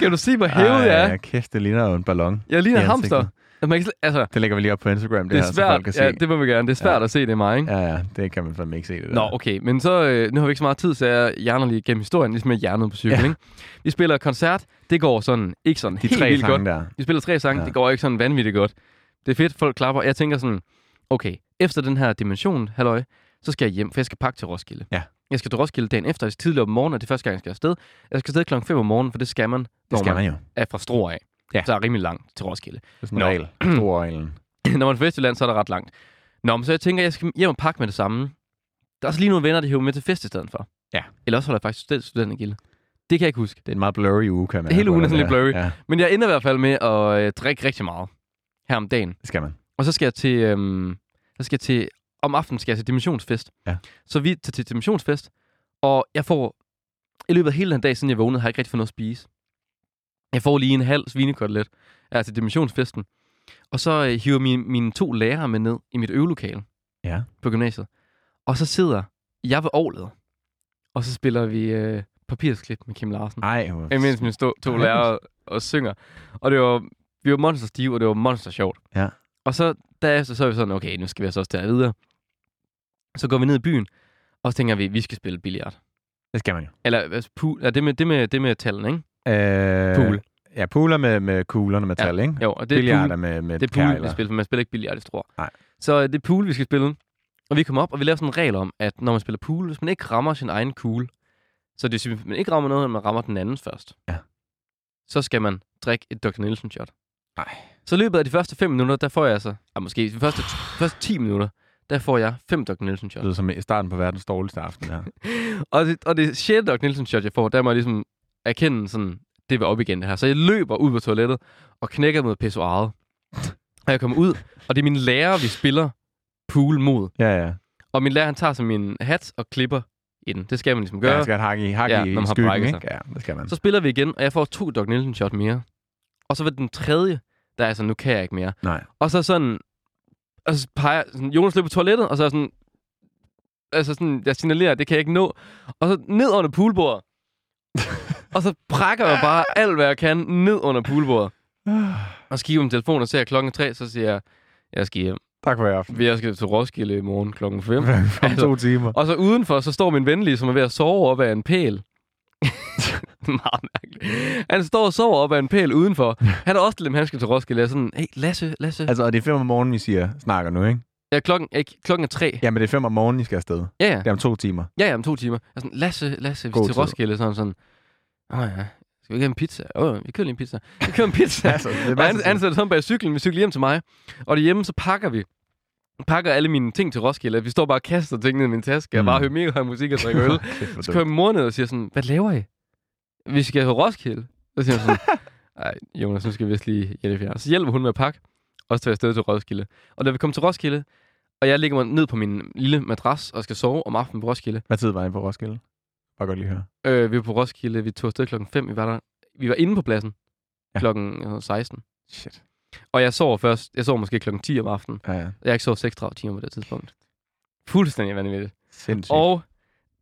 B: kan du se, hvor hævet jeg er?
A: Ej, kæft, det ligner jo en ballon.
B: Jeg ligner
A: i
B: en hamster.
A: ansigtet.
B: Altså, man kan slet, altså,
A: Det lægger vi lige op på Instagram, det,
B: det,
A: her,
B: er
A: så folk kan
B: svært.
A: se.
B: Ja, det må vi gerne. Det er svært ja. at se, det er mig, ikke?
A: ja, ja, det kan man fandme ikke se det der.
B: Nå, okay. Men så, øh, nu har vi ikke så meget tid, så jeg hjerner lige gennem historien, ligesom jeg hjernede på cyklen,
A: Ja.
B: ja. ikke? Vi spiller koncert. Det går sådan ikke sådan
A: De
B: helt
A: tre
B: vildt
A: sange
B: godt.
A: der.
B: Vi spiller tre sange.
A: Ja.
B: Ja. Det går ikke sådan vanvittigt godt. Det er fedt. Folk klapper. Jeg tænker sådan, okay, efter den her dimension, halløj, så skal jeg hjem, for jeg skal pakke til Roskilde.
A: Ja.
B: Jeg skal til Roskilde dagen efter, det er tidligere om morgenen, og det er første gang, jeg skal afsted. Jeg skal afsted klokken 5 om morgenen, for det skal man,
A: Det
B: når
A: skal man jo.
B: er fra Struer af.
A: Ja.
B: Så er rimelig langt til Roskilde.
A: Det er sådan en
B: Nå.
A: regel. Stor reglen.
B: når man er fra Vestjylland, så er det ret langt. Nå, men så jeg tænker, jeg skal hjem og pakke med det samme. Der er også lige nogle venner, der hiver med til fest i stedet for.
A: Ja.
B: Eller også holder jeg faktisk student studentergilde. Det kan jeg ikke huske.
A: Det er en meget blurry uge, kan man.
B: Hele
A: have på
B: ugen er
A: den
B: sådan lidt
A: der.
B: blurry.
A: Ja,
B: Men jeg ender i hvert fald med at øh, drikke rigtig meget her om dagen.
A: det skal man.
B: Og så skal jeg til, øhm, så skal jeg til om aftenen skal jeg til dimensionsfest.
A: Ja.
B: Så vi tager til dimensionsfest, og jeg får, i løbet af hele den dag, siden jeg vågnede, har jeg ikke rigtig fået noget at spise. Jeg får lige en halv svinekotelet her til dimensionsfesten. Og så øh, hiver min, mine to lærere med ned i mit øvelokale
A: Ja.
B: på gymnasiet. Og så sidder jeg ved året, og så spiller vi øh, papirsklip med Kim Larsen.
A: Ej, hvor-
B: Imens mine stå, to
A: Ej.
B: lærere og synger. Og det var, vi var monster stive, og det var monster sjovt.
A: Ja.
B: Og så derefter så er vi sådan, okay, nu skal vi altså også der videre. Så går vi ned i byen, og så tænker vi, vi skal spille billiard.
A: det skal man jo.
B: Eller altså, pool, ja, det, med, det, med, det med tallene, ikke?
A: Øh,
B: Pool.
A: Ja, pooler med, med kuglerne med tal, ikke?
B: Jo, og det er
A: Billiarder
B: pool,
A: med, med
B: det er pool vi
A: perler.
B: spiller, for man spiller ikke billiard, det tror jeg.
A: Nej.
B: Så øh, det er pool, vi skal spille. Og vi kommer op, og vi laver sådan en regel om, at når man spiller pool, hvis man ikke rammer sin egen kugle, så det vil sige, at man ikke rammer noget, men man rammer den andens først.
A: Ja.
B: Så skal man drikke et Dr. Nielsen shot.
A: Ej.
B: Så i løbet af de første 5 minutter, der får jeg altså, ah, måske de første, første 10 minutter, der får jeg 5 Dr. Nielsen
A: Det
B: shot.
A: lyder som i starten på verdens dårligste aften her.
B: Og det, og det 6. Doc Nielsen shot, jeg får, der må jeg ligesom erkende sådan, det var op igen det her. Så jeg løber ud på toilettet og knækker mod pissoaret. Og jeg kommer ud, og det er min lærer, vi spiller pool mod.
A: Ja, ja.
B: Og min lærer, han tager så min hat og klipper i den. Det skal man ligesom
A: Ja,
B: gøre.
A: man skal have et hak i, hak
B: Ja,
A: i
B: når man har
A: skyggen,
B: brækket sig.
A: ikke? Ja, det skal man.
B: Så spiller vi igen, og jeg får to Doc Nielsen shot mere. Og så var det den tredje, der er sådan, nu kan jeg ikke mere.
A: Nej.
B: Og så sådan, og så peger sådan, Jonas løber på toilettet, og så er jeg sådan, altså sådan, jeg signalerer, det kan jeg ikke nå. Og så ned under poolbordet. og så brækker jeg bare alt, hvad jeg kan, ned under poolbordet. Og så kigger jeg på min telefon og ser klokken er tre, så siger jeg, jeg skal hjem.
A: Tak for i aften.
B: Jeg skal til Roskilde i morgen klokken 5.
A: Om to timer.
B: Og så udenfor, så står min ven lige, som er ved at sove op af en pæl. Meget mærkeligt. Han står og sover op af en pæl udenfor. Han er også lidt, han skal til Roskilde. Jeg er sådan, hey, Lasse, Lasse.
A: Altså, og det er fem om morgenen, vi siger, snakker nu, ikke?
B: Ja, klokken, ikke, klokken er tre.
A: Jamen, det er fem om morgenen, I skal afsted.
B: Ja, ja.
A: Det er om to timer.
B: Ja, ja, om to timer. Jeg er sådan, Lasse, Lasse, vi
A: God
B: skal til
A: tid.
B: Roskilde, sådan sådan. Åh oh, ja, skal vi ikke have en pizza? Åh, oh, vi kører lige en pizza. Vi kører en pizza.
A: Altså, det er
B: og han,
A: masser af
B: han
A: tid.
B: sætter sådan bag cyklen, vi cykler hjem til mig. Og derhjemme, så pakker vi. Pakker alle mine ting til Roskilde. Vi står bare og kaster ting ned i min taske. Jeg
A: Mm.
B: bare hører mega høj musik og drikker øl.
A: Kæft, hvor
B: Så
A: dumt.
B: kører min mor ned og siger sådan, hvad laver I? Vi skal have Roskilde. Så siger hun sådan, nej Jonas, nu skal vi vist lige hjælpe jer. Så hjælper hun med at pakke, og så tager jeg afsted til Roskilde. Og da vi kom til Roskilde, og jeg ligger mig ned på min lille madras og skal sove om aftenen på Roskilde.
A: Hvad tid var I på Roskilde? Bare godt lige høre.
B: Øh, vi var på Roskilde, vi tog afsted klokken 5, vi var der. Vi var inde på pladsen
A: Ja.
B: ja. klokken øh, 16.
A: Shit.
B: Og jeg sov først, jeg sov måske klokken 10 om aftenen.
A: Ja, ja.
B: Jeg har ikke sovet 36 timer på det tidspunkt. Fuldstændig vanvittigt.
A: Sindssygt.
B: Og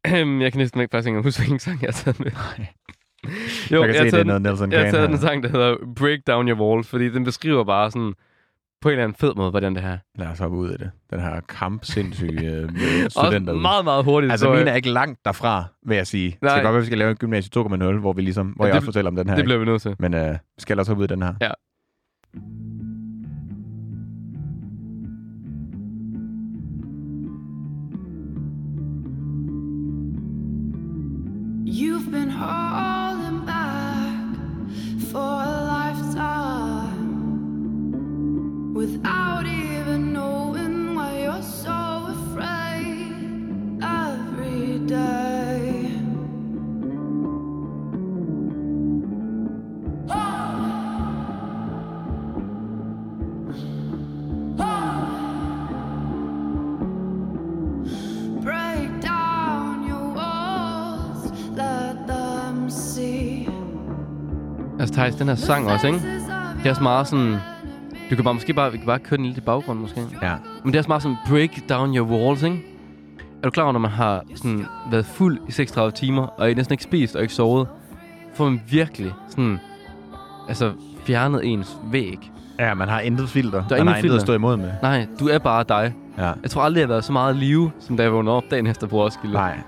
B: øhm, jeg kan næsten ikke faktisk ikke engang huske, hvilken sang jeg har taget med.
A: Nej.
B: Jo,
A: jeg kan
B: jeg, har
A: se, det er
B: taget, den,
A: noget Nelson
B: jeg har
A: Kane.
B: taget
A: her.
B: en sang, der hedder Break Down Your Wall, fordi den beskriver bare sådan på en eller anden fed måde, hvordan det her.
A: Lad os hoppe ud af det. Den her kampsindssyge øh, studenter.
B: Også meget, meget hurtigt.
A: Altså,
B: så, øh,
A: min er ikke langt derfra, vil jeg sige. Nej. Det
B: Nej.
A: kan godt være, vi skal lave en gymnasie 2.0, hvor, vi ligesom, hvor
B: Ja,
A: ja, jeg
B: det
A: også
B: bl-
A: fortæller om den her.
B: det
A: ikke?
B: bliver vi nødt til.
A: Men øh, vi skal også hoppe ud af den her.
B: Ja.
G: You've been holding back for a lifetime without even knowing why you're so afraid every day. Break down your walls, let them see.
B: Altså, Thijs, den her sang også, ikke? Det er også meget sådan... Du kan bare måske bare, vi kan bare køre den lidt i baggrunden, måske.
A: ja.
B: Men det er også meget sådan, break down your walls, ikke? Er du klar over, når man har sådan været fuld i 36 timer, og næsten ikke spist og ikke sovet, får man virkelig sådan, altså fjernet ens væg.
A: ja, man har intet filter.
B: ingen
A: man har intet
B: filter.
A: at stå imod med.
B: Nej, du er bare dig.
A: Ja.
B: Jeg tror aldrig, jeg har været så meget i live, som da jeg vågnede op dagen efter på Roskilde.
A: Nej.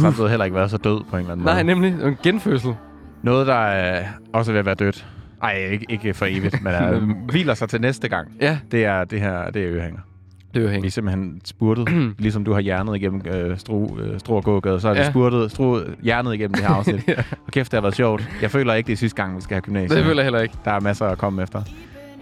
A: Samtidig heller ikke været så død på en eller anden
B: Nej,
A: måde.
B: nemlig. Det var en genfødsel.
A: Noget, der øh, også er ved at være dødt. Ej, ikke, ikke for evigt, men øh, hviler sig til næste gang.
B: Ja,
A: Det er det her, det er øhænger.
B: det var
A: Vi er
B: hængt. simpelthen
A: simpelthen spurtet, ligesom du har hjernet igennem øh, stru, øh, stru og gågade, så er det
B: Ja.
A: spurtet, stru, hjernet igennem det her afsnit. ja. Og kæft, det har været sjovt. Jeg føler ikke, det er sidste gang, vi skal have gymnasiet.
B: Det føler jeg heller ikke.
A: Der er masser at komme efter.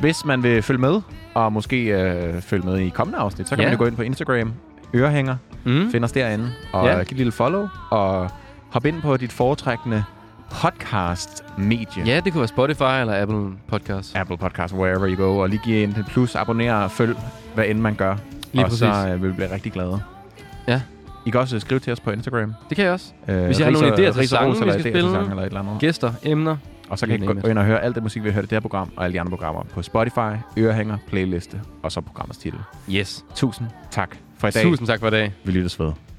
A: Hvis man vil følge med, og måske øh, følge med i kommende afsnit, så kan
B: Ja.
A: man jo gå ind på Instagram, ørehænger,
B: Mm.
A: find os derinde, og
B: Ja.
A: ja. giv et lille follow, og hop ind på dit foretrækkende podcast-medie.
B: Ja, det kunne være Spotify eller Apple Podcast.
A: Apple Podcast, wherever you go, og lige give en plus, abonner og følg, hvad end man gør.
B: Lige
A: og
B: præcis.
A: så øh, vil vi blive rigtig glade.
B: Ja.
A: I kan også øh, skrive til os på Instagram.
B: Det kan jeg også.
A: Øh,
B: Hvis I har nogle idéer til sange, vi
A: eller
B: skal
A: idéer til
B: spille.
A: sange Eller et eller andet.
B: Gæster, emner.
A: Og så kan I
B: You
A: gå
B: name
A: gå ind og høre alt det musik, vi har hørt i det her program, og alle de andre programmer på Spotify, Ørehænger, playliste og så programmets titel.
B: Yes.
A: Tusind tak for i dag.
B: Tusind tak for i dag.
A: Vi lyttes ved.